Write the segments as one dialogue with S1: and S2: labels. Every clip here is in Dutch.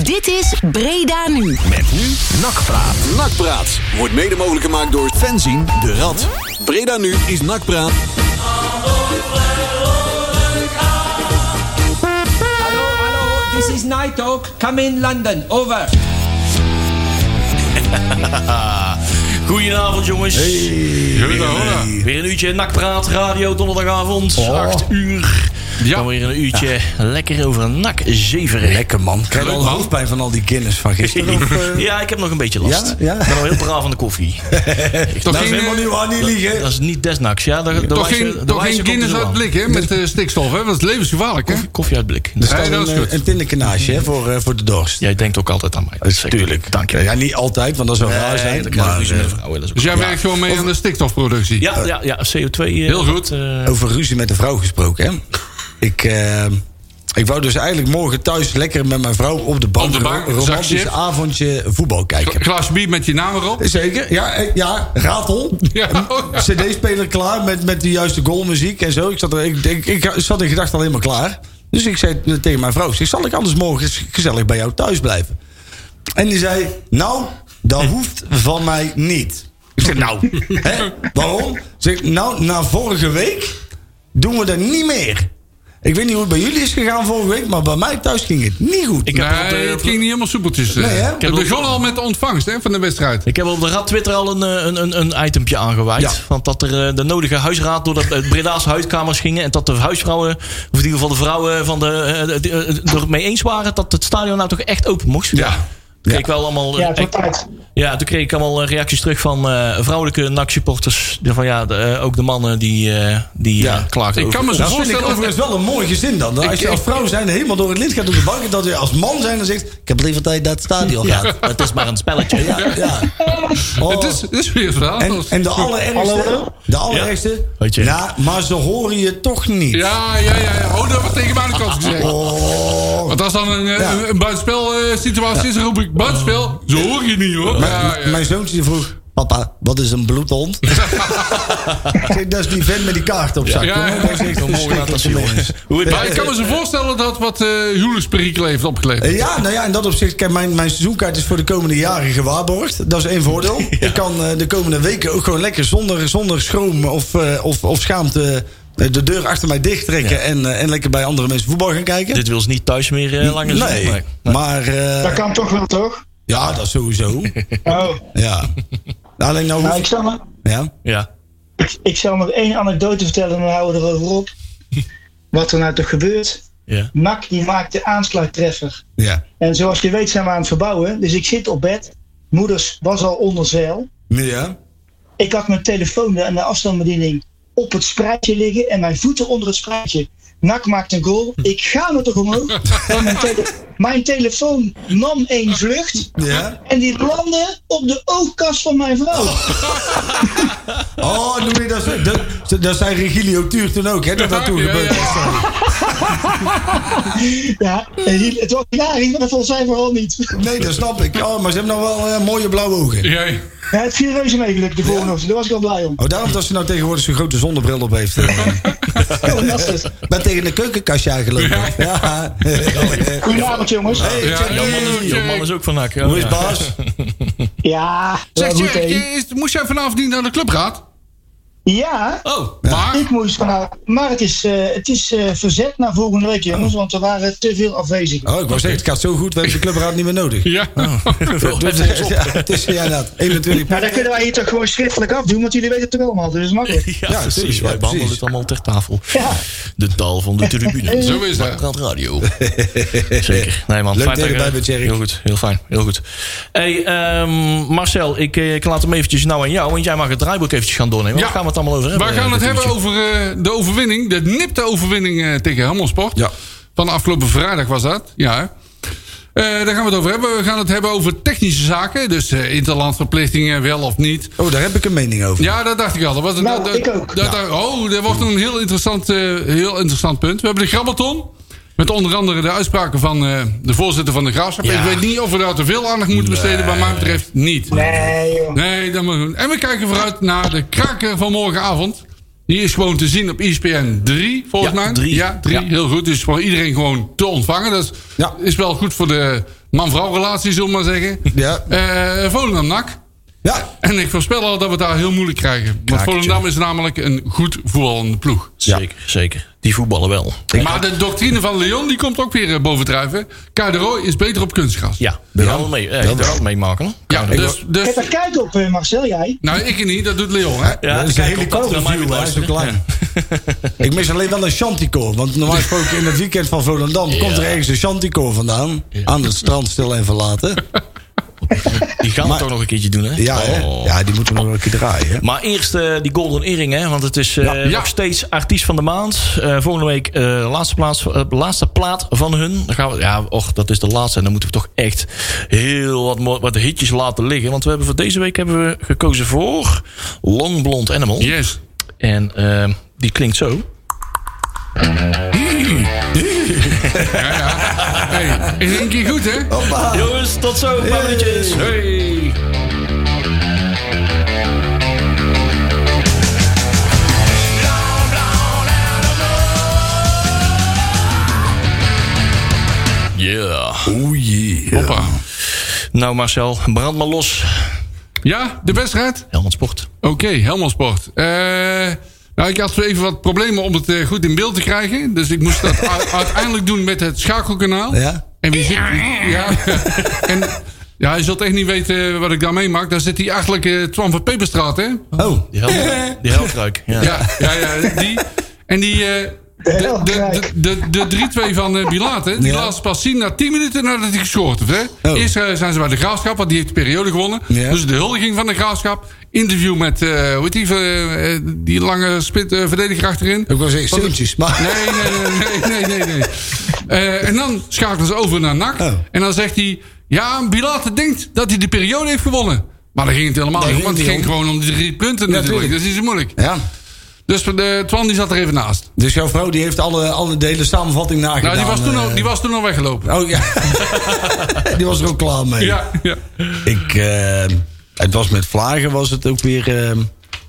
S1: Dit is Breda Nu.
S2: Met nu Nakpraat.
S3: Nakpraat wordt mede mogelijk gemaakt door
S2: Fenzien de Rad.
S3: Breda nu is Nakpraat.
S4: Hello, hello, this is Night Talk. Come in London, over.
S5: Goedenavond jongens. Weer een uurtje Nakpraat Radio donderdagavond. 8 uur.
S6: Oh. Ja.
S5: Dan weer een uurtje lekker over nak zeveren.
S6: Lekker man. Krijg je
S5: Leuk,
S6: al
S5: man.
S6: hoofdpijn van al die kennis van gisteren? Of, eh?
S5: Ja, ik heb nog een beetje last.
S6: Ja? Ja?
S5: Ik ben al heel braaf aan de koffie.
S6: Dat
S5: ging-
S6: is
S7: eh,
S6: helemaal niet waar, niet liegen.
S5: Dat is niet desnaks, ja. De, de
S6: Toch
S5: wijze-
S6: Toch
S5: de
S6: geen-
S5: wijze komt er zo
S6: geen toch geen Guinness
S5: aan.
S6: uit blik, hè,
S7: met eh, stikstof, hè? Dat is levensgevaarlijk, hè?
S5: Koffie uit blik. Dus
S6: Er staat
S7: Nee, dat is
S6: een,
S7: goed.
S6: eh, een pindakaasje hè, voor, eh, voor de dorst.
S5: Jij denkt ook altijd aan mij. Dat is
S6: Tuurlijk.
S5: Dank je.
S6: Ja, niet altijd, want dat zou raar
S5: Nee,
S6: zijn.
S5: dat kan
S6: maar,
S5: ik niet zo met
S6: eh,
S5: vrouwen. dat is ook-
S7: Dus jij werkt gewoon mee aan de stikstofproductie?
S5: Ja, ja, ja, CO2. eh,
S7: Heel goed.
S5: dat, eh,
S6: over ruzie met de vrouw gesproken, hè? Ik, eh, ik wou dus eigenlijk morgen thuis lekker met mijn vrouw op de bank...
S7: Op de bank,
S6: een romantisch
S7: zakje.
S6: avondje voetbal kijken.
S7: Een Glas bier met je naam erop?
S6: Zeker, ja, eh, ja ratel.
S7: Ja.
S6: CD-speler klaar met, met de juiste goalmuziek en zo. Ik zat, er, ik, ik, ik zat in gedachten al helemaal klaar. Dus ik zei tegen mijn vrouw: ik zeg, Zal ik anders morgen eens gezellig bij jou thuis blijven? En die zei: Nou,
S7: Hm.
S6: dat hoeft van mij niet. Ik zeg: Nou, hè, waarom? Ze zegt, Nou, na vorige week doen we dat niet meer. Ik weet niet hoe het bij jullie is gegaan vorige week, maar bij mij thuis ging het niet goed.
S5: Ik heb op de-
S7: Nee, het ging niet helemaal soepeltjes. eh.
S6: Nee, hè? Ik
S5: heb
S7: Het begon
S5: ook-
S7: al met de ontvangst hè, van de wedstrijd.
S5: Ik heb op de Rad Twitter al een, eh, een, een, een itempje aangeweid.
S6: Ja.
S5: Want dat er eh, de nodige huisraad door de eh, Breda's huiskamers gingen. En dat de huisvrouwen, of in ieder geval de vrouwen van de, eh, de- de- de- ermee eens waren dat het stadion nou toch echt open moest.
S7: Ja.
S5: Kreeg ik wel allemaal, eh,
S8: Ja, het wordt
S5: ik-
S8: tijd.
S5: ja, toen kreeg ik allemaal eh, reacties terug van eh, vrouwelijke NAC-supporters. Van ja, de, eh, ook de mannen die, eh, die eh,
S6: Ja.
S5: klaagden.
S7: Ik
S5: over-
S7: kan me zo
S6: Dat vind ik
S7: voorstellen...
S6: overigens wel een mooi gezin dan. Als je
S7: "Oh, Ik-
S6: als vrouw zijn helemaal door het lint gaat op de bank... en dat je als man zijn dan zegt... ik heb liever dat je naar het stadion gaat.
S5: ja, het is maar een spelletje.
S6: Ja, ja. Oh.
S7: Het is, het is weer een verhaal.
S6: en, en de
S8: Hallo?
S6: allerergste... De allerergste...
S5: Weet je.
S6: Ja, maar ze horen je toch niet.
S7: Ja, ja, ja. ja. Oh, dat wordt tegen mij de kant gezegd.
S6: Ah, Oh.
S7: Want als dan een, eh,
S6: Ja.
S7: een, een buitenspel eh, situatie is, dan roep ik buitenspel. Zo hoor je niet hoor.
S6: Mijn-
S7: Ja, ja.
S6: Mijn zoontje die vroeg... Papa, wat is een bloedhond? Ik zeg, dat is die vent met die kaart op zak.
S7: Ja,
S6: jongen.
S7: ja.
S6: Dat is echt
S5: Hoe mooi dat dat
S6: verschrikkelijk,
S5: jongen is.
S6: jongens.
S5: Hoe het-
S7: Maar ik kan me zo voorstellen dat wat eh huwelijksperikelen heeft opgeleverd.
S6: Eh, Ja, nou ja, in dat opzicht, kijk, mijn, mijn seizoenkaart is voor de komende jaren gewaarborgd. Dat is één voordeel. Ik kan eh, de komende weken ook gewoon lekker zonder, zonder schroom of, eh, of, of schaamte eh, de deur achter mij dicht trekken. En, eh, en lekker bij andere mensen voetbal gaan kijken.
S5: Dit wil ze niet thuis meer eh, langer zien.
S6: nee,
S5: Nee.
S6: maar eh,
S8: Dat kan toch wel, toch?
S6: ja, dat sowieso.
S8: Oh,
S6: ja. Alleen nou,
S8: nou,
S6: hoef-
S8: ik, zal maar,
S6: ja.
S5: Ja.
S8: ik, ik zal nog één anekdote vertellen en dan houden we erover op. Wat er nou toch gebeurt.
S5: Ja.
S8: Nak die maakt de aansluittreffer.
S6: Ja.
S8: En zoals je weet zijn we aan het verbouwen. Dus ik zit op bed. Moeders was al onder zeil.
S6: Ja.
S8: Ik had mijn telefoon en de afstandsbediening op het spruitje liggen. En mijn voeten onder het spruitje. Nak maakt een goal. Ik ga me toch omhoog. Want mijn, tele- mijn telefoon nam één vlucht.
S6: Ja.
S8: En die landde op de oogkast van mijn vrouw.
S6: Oh, noem je dat, zo- dat, dat zei Regilio Tuur toen ook, hè, dat dat toen
S7: Ja, ja,
S6: gebeurd is.
S8: Ja, en hier- het was hilarisch, maar dat vond zij vooral niet.
S6: Nee, dat snap ik. Oh, maar ze hebben nog wel eh, mooie blauwe ogen.
S7: Ja, ja.
S8: Ja, het viel reuze mee gelukkig de volgende ochtend. Daar was ik al blij om.
S6: Oh, daarom dat ze nou tegenwoordig zo'n grote zonnebril op heeft.
S8: Oh, dat is het.
S6: Ik ben tegen de keukenkastje aangelopen. Ja.
S8: Goedenavond jongens.
S6: Hey,
S7: Ja,
S6: check
S7: ja,
S6: hey.
S7: man, dat
S5: Jouw man is ook van nak.
S6: Hoe is Oh, Bas?
S8: Ja,
S7: Zeg,
S8: wel goed,
S7: je,
S8: hè.
S7: je- is- moest jij vanavond niet naar de clubraad?
S8: Ja,
S7: Oh. Maar,
S8: ik moest vanavond. Maar het is, eh, het is eh, verzet naar volgende week jongens, want er waren te veel afwezigen.
S6: Oh, ik wou zeggen, het gaat zo goed, we hebben de clubraad niet meer nodig.
S7: ja.
S5: Oh.
S6: Dus, eh, ja, het is ja, inderdaad 21
S8: Maar dat Nou, kunnen wij hier toch gewoon schriftelijk afdoen, want jullie weten het toch allemaal, dus makkelijk.
S5: Ja,
S6: Ja,
S5: precies.
S6: precies, ja,
S5: Wij behandelen
S6: precies.
S5: het allemaal ter tafel.
S8: Ja.
S5: De taal van de tribune.
S7: Zo is dat.
S5: Nakpraat Radio. Zeker. Nee man,
S6: Leuk
S5: fijn
S6: dat je
S5: je-
S6: erbij bent, Jerry.
S5: Heel goed, heel fijn, heel goed. Hey, ehm, Marcel, ik, eh, ik laat hem eventjes nou aan jou, want jij mag het draaiboek eventjes gaan doornemen.
S7: Ja.
S5: Waar gaan we het allemaal over hebben?
S7: Wij gaan
S5: eh,
S7: het
S5: dit
S7: hebben
S5: uurtje?
S7: over eh, de overwinning. De nipte overwinning eh, tegen Hammelsport.
S6: Ja.
S7: Van de afgelopen vrijdag was dat. Ja. Eh, daar gaan we het over hebben. We gaan het hebben over technische zaken. Dus eh, interlandverplichtingen wel of niet.
S6: Oh, daar heb ik een mening over.
S7: Ja, dat dacht ik al. Dat was,
S8: Nou,
S7: dat,
S8: ik ook.
S7: dat- dat- oh, dat wordt een heel interessant, eh, heel interessant punt. We hebben de grabbelton. Met onder andere de uitspraken van eh, de voorzitter van de graafschap.
S5: Ja.
S7: Ik weet niet of we daar te veel aandacht moeten besteden. Wat mij betreft niet.
S8: Nee joh.
S7: Nee, dat moet doen. En we kijken vooruit naar de kraker van morgenavond. Die is gewoon te zien op E ESPN 3, volgens
S5: Ja,
S7: mij.
S5: drie.
S7: Ja, 3.
S5: Ja.
S7: Heel goed. Dus voor iedereen gewoon te ontvangen. Dat is,
S6: Ja.
S7: is wel goed voor de man-vrouw relatie, zullen we maar zeggen.
S6: Ja.
S7: Eh, Volendam NAC.
S6: Ja.
S7: En ik voorspel al dat we het daar heel moeilijk krijgen. Want
S6: Krakertje.
S7: Volendam is namelijk een goed voetballende ploeg.
S5: Zeker, zeker. Die voetballen wel.
S7: maar de doctrine van Leon die komt ook weer eh, bovendrijven. Kader Roy is beter op kunstgras.
S5: Ja, daar gaan we mee, eh, daar gaan we mee maken. hoor.
S7: Ja, dus,
S8: Heb
S7: dus,
S8: er kijk op, eh, Marcel, jij.
S7: nou, ik niet, dat doet Leon. Hè?
S5: Ja,
S6: dat is een
S5: kijk,
S6: hele
S5: op dat eh,
S6: koude
S5: naar mij
S6: view,
S5: moet
S6: hè, zo
S5: luisteren.
S6: klein. Ik mis alleen wel een shantycore. Want normaal gesproken in het weekend van Volendam... komt er ergens een shantycore vandaan. Aan het strand stil en verlaten.
S5: Die gaan we toch nog een keertje doen, hè?
S6: Ja, hè?
S5: Oh.
S6: ja die moeten we nog wel een keer draaien. hè.
S5: Maar eerst eh, die Golden Earring, hè? Want het is eh,
S7: Ja.
S5: nog steeds artiest van de maand. Eh, volgende week eh, laatste, plaats, eh, laatste plaat van hun. Dan gaan we, ja, och, dat is de laatste. En dan moeten we toch echt heel wat, mo- wat hitjes laten liggen. Want we hebben voor deze week hebben we gekozen voor Long Blonde Animal.
S7: Yes.
S5: En eh, die klinkt zo.
S7: Hey, is één keer goed, hè?
S5: Jongens, tot zo. Een paar minuutjes.
S7: Hey.
S5: Yeah.
S7: Oh, Hoppa.
S5: Nou Marcel, brand maar los.
S7: Ja, de wedstrijd?
S5: Helmond Sport.
S7: Oké, helemaal sport. Eh, nou, ik had even wat problemen om het eh, goed in beeld te krijgen. Dus ik moest dat u- uiteindelijk doen met het schakelkanaal.
S6: Ja.
S7: En wie zit... Ja. en, ja, je zult echt niet weten eh, wat ik daar meemaak. Daar zit die achterlijke Twan van Peperstraat, hè?
S6: Oh,
S5: Die helm- die helmkruik. Ja.
S7: Ja, ja, ja. Die, en die... eh, de, de, de, de, de 3-2 van eh Bilaten, die
S6: Ja.
S7: laat ze pas zien na 10 minuten nadat hij gescoord heeft. Hè?
S6: Oh.
S7: Eerst eh, zijn ze bij de Graafschap, want die heeft de periode gewonnen.
S6: Ja.
S7: Dus de huldiging van de Graafschap. Interview met, eh hoe heet die, eh, eh, die lange spit, eh, verdediger achterin.
S6: ik was zeggen Seuntjes, maar...
S7: Nee, nee, nee, nee, nee. nee, nee. Eh, en dan schakelen ze over naar NAC.
S6: Oh.
S7: En dan zegt hij... Ja, Bilate denkt dat hij de periode heeft gewonnen. Maar dat ging het helemaal niet om.
S6: ging
S7: Want het
S6: niet
S7: ging gewoon om die drie punten
S6: Ja,
S7: natuurlijk.
S6: tuurlijk.
S7: Dat is niet zo moeilijk.
S6: Ja.
S7: Dus de, Twan die zat er even naast.
S6: Dus jouw vrouw die heeft alle, alle de hele samenvatting nagedaan.
S7: Nou, die was toen
S6: eh.
S7: al, die was toen al weggelopen.
S6: Oh ja. die was er ook klaar mee.
S7: Ja, ja.
S6: Ik, eh, het was met vlagen was het ook weer eh,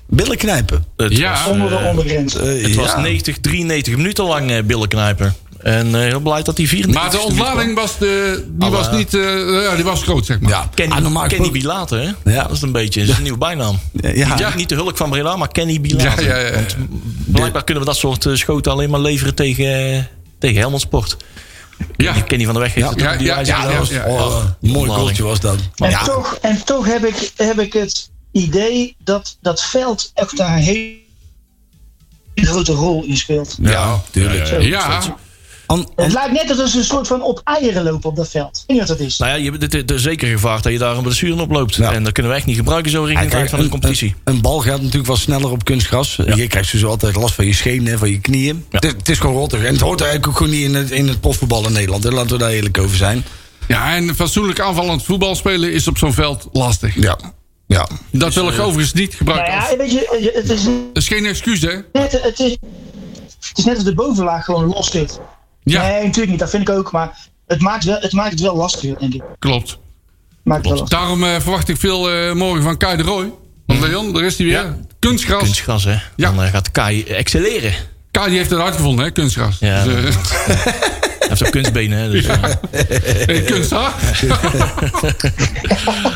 S6: billen knijpen.
S5: Het
S7: Ja.
S5: was, eh,
S8: Onder de ondergrens.
S6: Eh,
S5: het was
S6: ja.
S5: 90, 93 minuten lang eh billenknijper. En eh, heel blij dat hij 24
S7: Maar de ontlading was, de, die
S5: Alle-
S7: was niet... eh, ja, die was groot, zeg maar.
S6: Ja,
S5: Kenny,
S6: Ah, normaal
S5: Kenny
S6: gesproken-
S5: Bilate, hè?
S6: Ja.
S5: Dat is een beetje dat is een nieuwe bijnaam.
S6: Ja.
S5: Niet, niet de hulk van Breda, maar Kenny Bilate.
S7: Ja, ja, ja.
S5: Want blijkbaar kunnen we dat soort eh, schoten alleen maar leveren tegen, eh, tegen Helmond Sport.
S7: Ja.
S5: Kenny van der Weg heeft
S6: Ja.
S5: het ook
S7: Ja,
S5: die
S7: ja,
S5: wijze
S7: ja,
S5: gedaan.
S7: ja, ja.
S6: Oh, eh, mooi
S5: Ontlading.
S6: goaltje was dat.
S8: En,
S6: Ja.
S8: toch, en toch heb ik, heb ik het idee dat dat veld echt daar een hele grote rol in speelt.
S7: Ja,
S6: tuurlijk.
S7: Ja, ja.
S6: An- an-
S8: Het lijkt net alsof ze een soort van op eieren lopen op dat veld. Ik weet niet wat dat is.
S5: Nou ja, je hebt het- het zeker gevaar dat je daar een blessure op loopt.
S6: Ja.
S5: En dat kunnen we echt niet gebruiken zo richting
S6: Ja,
S5: het
S6: kijk,
S5: eind van de
S6: een-
S5: competitie.
S6: Een, een bal gaat natuurlijk wat sneller op kunstgras. Je krijgt sowieso altijd last van je schenen en van je knieën.
S5: Ja.
S6: Het, is- het is gewoon rottig. En het hoort eigenlijk ook gewoon niet in het, in het profvoetbal in Nederland. hè. Laten we daar eerlijk over zijn.
S7: ja, en fatsoenlijk aanvallend voetbal spelen is op zo'n veld lastig.
S6: Ja. Ja.
S7: Dat wil
S5: eh,
S7: ik overigens niet
S8: Nou
S7: gebruiken. als-
S8: ja, weet eh, je, het is
S7: Dat is geen excuus, hè?
S8: net, het is, het is net als de bovenlaag gewoon los zit.
S7: Ja,
S8: Nee, natuurlijk niet. Dat vind ik ook. Maar het maakt, wel, het, maakt het wel lastiger, denk ik.
S7: klopt.
S8: Maakt het wel lastiger.
S7: Daarom eh, verwacht ik veel eh, morgen van Kai de Roy. Want Leon, daar is hij weer.
S5: Mhm. Ja.
S7: Kunstgras.
S5: Kunstgras, hè?
S7: Ja.
S5: Dan eh, gaat Kai excelleren. Hij
S7: Kai die heeft het uitgevonden, hè? Kunstgras.
S5: Ja,
S7: Dus, eh,
S5: heeft ook kunstbenen, hè? Dus, eh,
S7: eh, kunsthaar.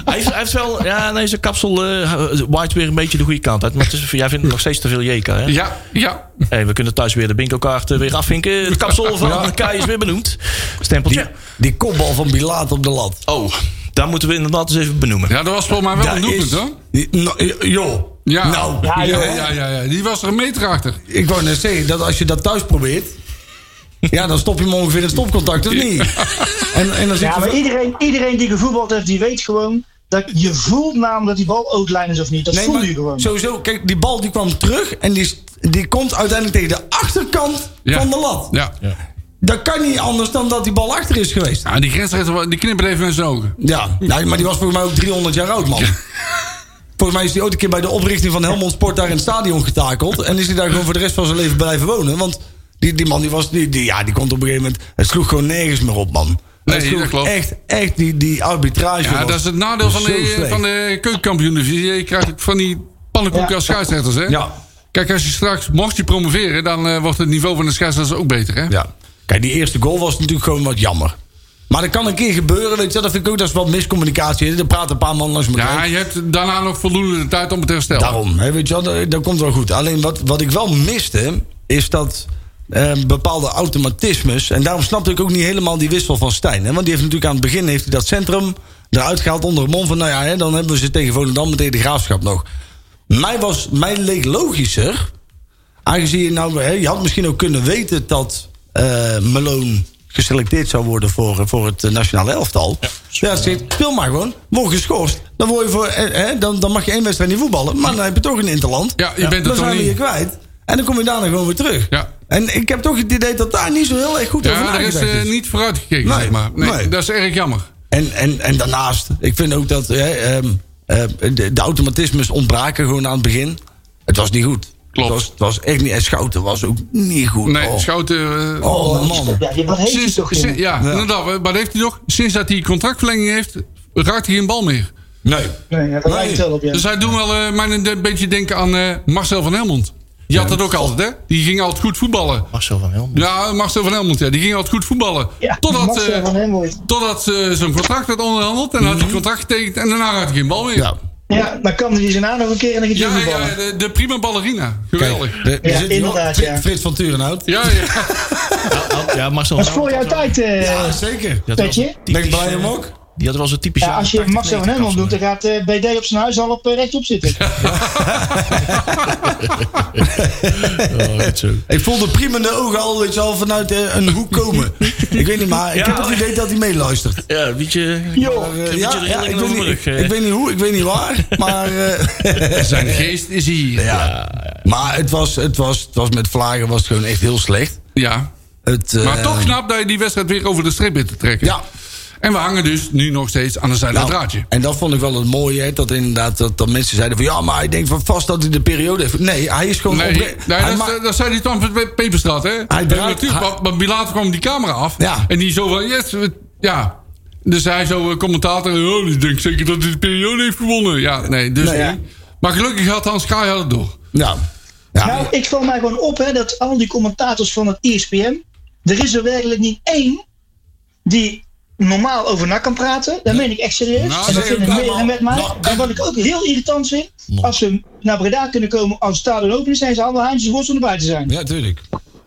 S5: Hij heeft, hij heeft wel, ja, nee, zijn kapsel eh, waait weer een beetje de goede kant uit. Maar het is, jij vindt het nog steeds te veel Jeka, hè?
S7: Ja, ja.
S5: Hey, we kunnen thuis weer de bingo-kaart eh, weer afvinken. Het kapsel van Kai is weer benoemd. Stempeltje.
S6: Die kopbal van Bilaat op de lat.
S5: Oh, daar moeten we inderdaad eens even benoemen.
S7: Ja, dat was voor mij wel een doelpunt, hoor.
S6: Die- nou, joh.
S7: Ja.
S6: Nou,
S7: ja,
S6: joh.
S7: ja, ja, ja. Die was er een meter achter.
S6: Ik wou net zeggen dat als je dat thuis probeert. Ja, dan stop je hem ongeveer in het stopcontact, of niet? En, en dan zit
S8: Ja,
S6: je
S8: maar
S6: van-
S8: iedereen, iedereen die gevoetbald heeft, die weet gewoon... Dat je voelt namelijk dat die bal outline is of niet. Dat
S6: Nee,
S8: voel
S6: maar
S8: je gewoon.
S6: sowieso, kijk, die bal die kwam terug en die, die komt uiteindelijk tegen de achterkant
S7: Ja.
S6: van de lat.
S7: Ja.
S6: Dat kan niet anders dan dat die bal achter is geweest.
S7: Nou, die grensrechter die knippert even met zijn ogen.
S6: Ja, nou, maar die was volgens mij ook 300 jaar oud, man. Volgens mij is die ooit een keer bij de oprichting van Helmond Sport daar in het stadion getakeld. En is hij daar gewoon voor de rest van zijn leven blijven wonen. Want die, die man, die was, die, die- ja, die komt op een gegeven moment... Het sloeg gewoon nergens meer op, man.
S7: Nee,
S6: het sloeg
S7: dat klopt.
S6: Echt, echt die, die arbitrage
S7: Ja,
S6: was
S7: dat is het nadeel van
S6: zo
S7: de,
S6: slecht.
S7: van de keukenkampioen divisie. Je krijgt ook van die pannenkoeken
S8: Ja.
S7: als scheidsrechters, hè?
S6: Ja.
S7: Kijk, als je straks mocht je promoveren, dan eh, wordt het niveau van de scheidsrechter ook beter, hè?
S6: Ja. Kijk, die eerste goal was natuurlijk gewoon wat jammer. Maar dat kan een keer gebeuren, weet je. wel. Dat vind ik ook, dat is wat miscommunicatie. Er praten een paar man langs elkaar.
S7: Ja, je hebt daarna nog voldoende de tijd om het te herstellen.
S6: Daarom, hè, weet je wel, dat, dat komt wel goed. Alleen wat, wat ik wel miste, is dat eh, bepaalde automatismes... en daarom snapte ik ook niet helemaal die wissel van Stijn. Hè, want die heeft natuurlijk aan het begin heeft hij dat centrum eruit gehaald onder de mond van... nou ja, hè, dan hebben we ze tegen Volendam meteen de graafschap nog. Mij, was, mij leek logischer, aangezien je nou... Hè, je had misschien ook kunnen weten dat eh Malone geselecteerd zou worden voor, eh, voor het eh, nationale elftal. Ja, zegt, speel maar gewoon. Word geschorst. Dan, word je voor, eh, hè, dan, dan mag je één wedstrijd niet voetballen. Maar dan heb je toch een interland.
S7: Ja, je bent het
S6: dan
S7: toch
S6: zijn we
S7: niet.
S6: je kwijt. En dan kom je daarna gewoon weer terug.
S7: Ja.
S6: En ik heb toch het idee dat daar niet zo heel erg goed over
S7: Ja, er is
S6: nagedacht is.
S7: eh, niet vooruit gekeken,
S6: Nee,
S7: zeg maar. Nee,
S6: nee.
S7: dat is erg jammer.
S6: En, en, en daarnaast, ik vind ook dat hè, ehm, ehm, de, de automatismes ontbraken gewoon aan het begin. Het was niet goed.
S7: Klopt.
S6: Het was, het was echt niet. En Schouten was ook niet goed.
S7: Nee,
S6: oh.
S7: Schouten... eh,
S6: Oh, man.
S8: Ja, je- wat heeft hij
S7: sinds,
S8: toch
S7: sin-
S8: in?
S7: ja,
S6: Ja.
S7: inderdaad. eh, Wat heeft hij toch? Sinds dat hij contractverlenging heeft, raakt hij geen bal meer.
S6: Nee.
S8: Nee, ja, dat lijkt wel op je.
S7: Dus hij doet wel eh, mij een een beetje denken aan eh, Marcel van Helmond. Die had dat ook altijd, hè? Die ging altijd goed voetballen.
S5: Marcel van Helm.
S7: Ja, Marcel van Helmond, ja. Die ging altijd goed voetballen.
S8: Ja,
S7: Totdat,
S8: Marcel
S7: eh,
S8: van Helmond.
S7: totdat eh, zijn contract werd onderhandeld. En dan had hij contract getekend en daarna raakte hij geen bal meer.
S6: Ja.
S8: Ja, dan kan hij daarna nog een keer in een
S7: Ja,
S8: gedwongen
S7: ja,
S8: vallen.
S7: de, de prima ballerina. Geweldig.
S6: Kijk, er- er
S8: Ja,
S6: zit hier nog
S8: inderdaad,
S6: Fri-
S8: ja.
S6: Frits van Turenhout.
S7: Ja, ja.
S5: Ja, Marcel
S8: Dat is voor jouw tijd, eh,
S6: Ja, zeker.
S5: Die had
S8: Weet
S5: wel
S8: je?
S5: zo'n
S6: Ben ik
S5: typisch,
S6: blij hem
S5: eh,
S6: ook?
S5: Die had wel zo'n typische...
S8: Ja, als je Marcel van Hemmel doet, dan gaat eh, BD op zijn huis al op eh, rechtop zitten.
S5: Oh, goed zo.
S6: Ik voel de priemende ogen al, weet je wel, vanuit eh, een hoek komen. ik weet niet, maar ik heb het idee dat hij meeluistert.
S5: Ja, weet je...
S6: Maar, eh,
S5: een beetje
S6: ja,
S5: de
S6: ja,
S5: rilling
S6: ik,
S5: over
S6: weet
S5: mijn
S6: niet,
S5: rug, eh.
S6: ik weet niet hoe, ik weet niet waar, maar... eh,
S7: Zijn geest is hier. Ja.
S6: maar het was, het, was, het was met Vlagen was het gewoon echt heel slecht. Het, eh,
S7: Maar toch knap dat je die wedstrijd weer over de strip weet te trekken.
S6: Ja.
S7: En we hangen dus nu nog steeds aan de zijde
S6: nou,
S7: het draadje.
S6: En dat vond ik wel het mooie, hè, dat inderdaad dat, dat mensen zeiden van... ja, maar hij denkt van vast dat hij de periode heeft. Nee, hij is gewoon...
S7: Nee,
S6: opre-
S7: nee,
S6: hij
S7: dat,
S6: ma-
S7: is- eh, dat zei hij toen van Pe- Peperstraat, hè? En
S6: draait- hij-
S7: natuurlijk, maar, maar Bilater kwam die camera af.
S6: Ja.
S7: En die zo van, yes, we- ja. Dus hij zo eh, commentator, oh, die denkt zeker dat hij de periode heeft gewonnen. Ja, nee, dus
S6: Nee, ja.
S7: niet. Maar gelukkig had Hans Kraai had het door.
S6: ja. Ja.
S8: Nou, ik val mij gewoon op hè, dat al die commentators van het E ESPN. Er is er werkelijk niet één die normaal over NAC kan praten. Dat meen ik echt serieus.
S7: Nou,
S8: en dat
S7: nee,
S8: vinden
S7: nou,
S8: meerdere met mij. en wat ik ook heel irritant vind. Als ze naar Breda kunnen komen als het stadion open is, zijn ze allemaal handjes worst om erbij te zijn.
S6: ja, tuurlijk.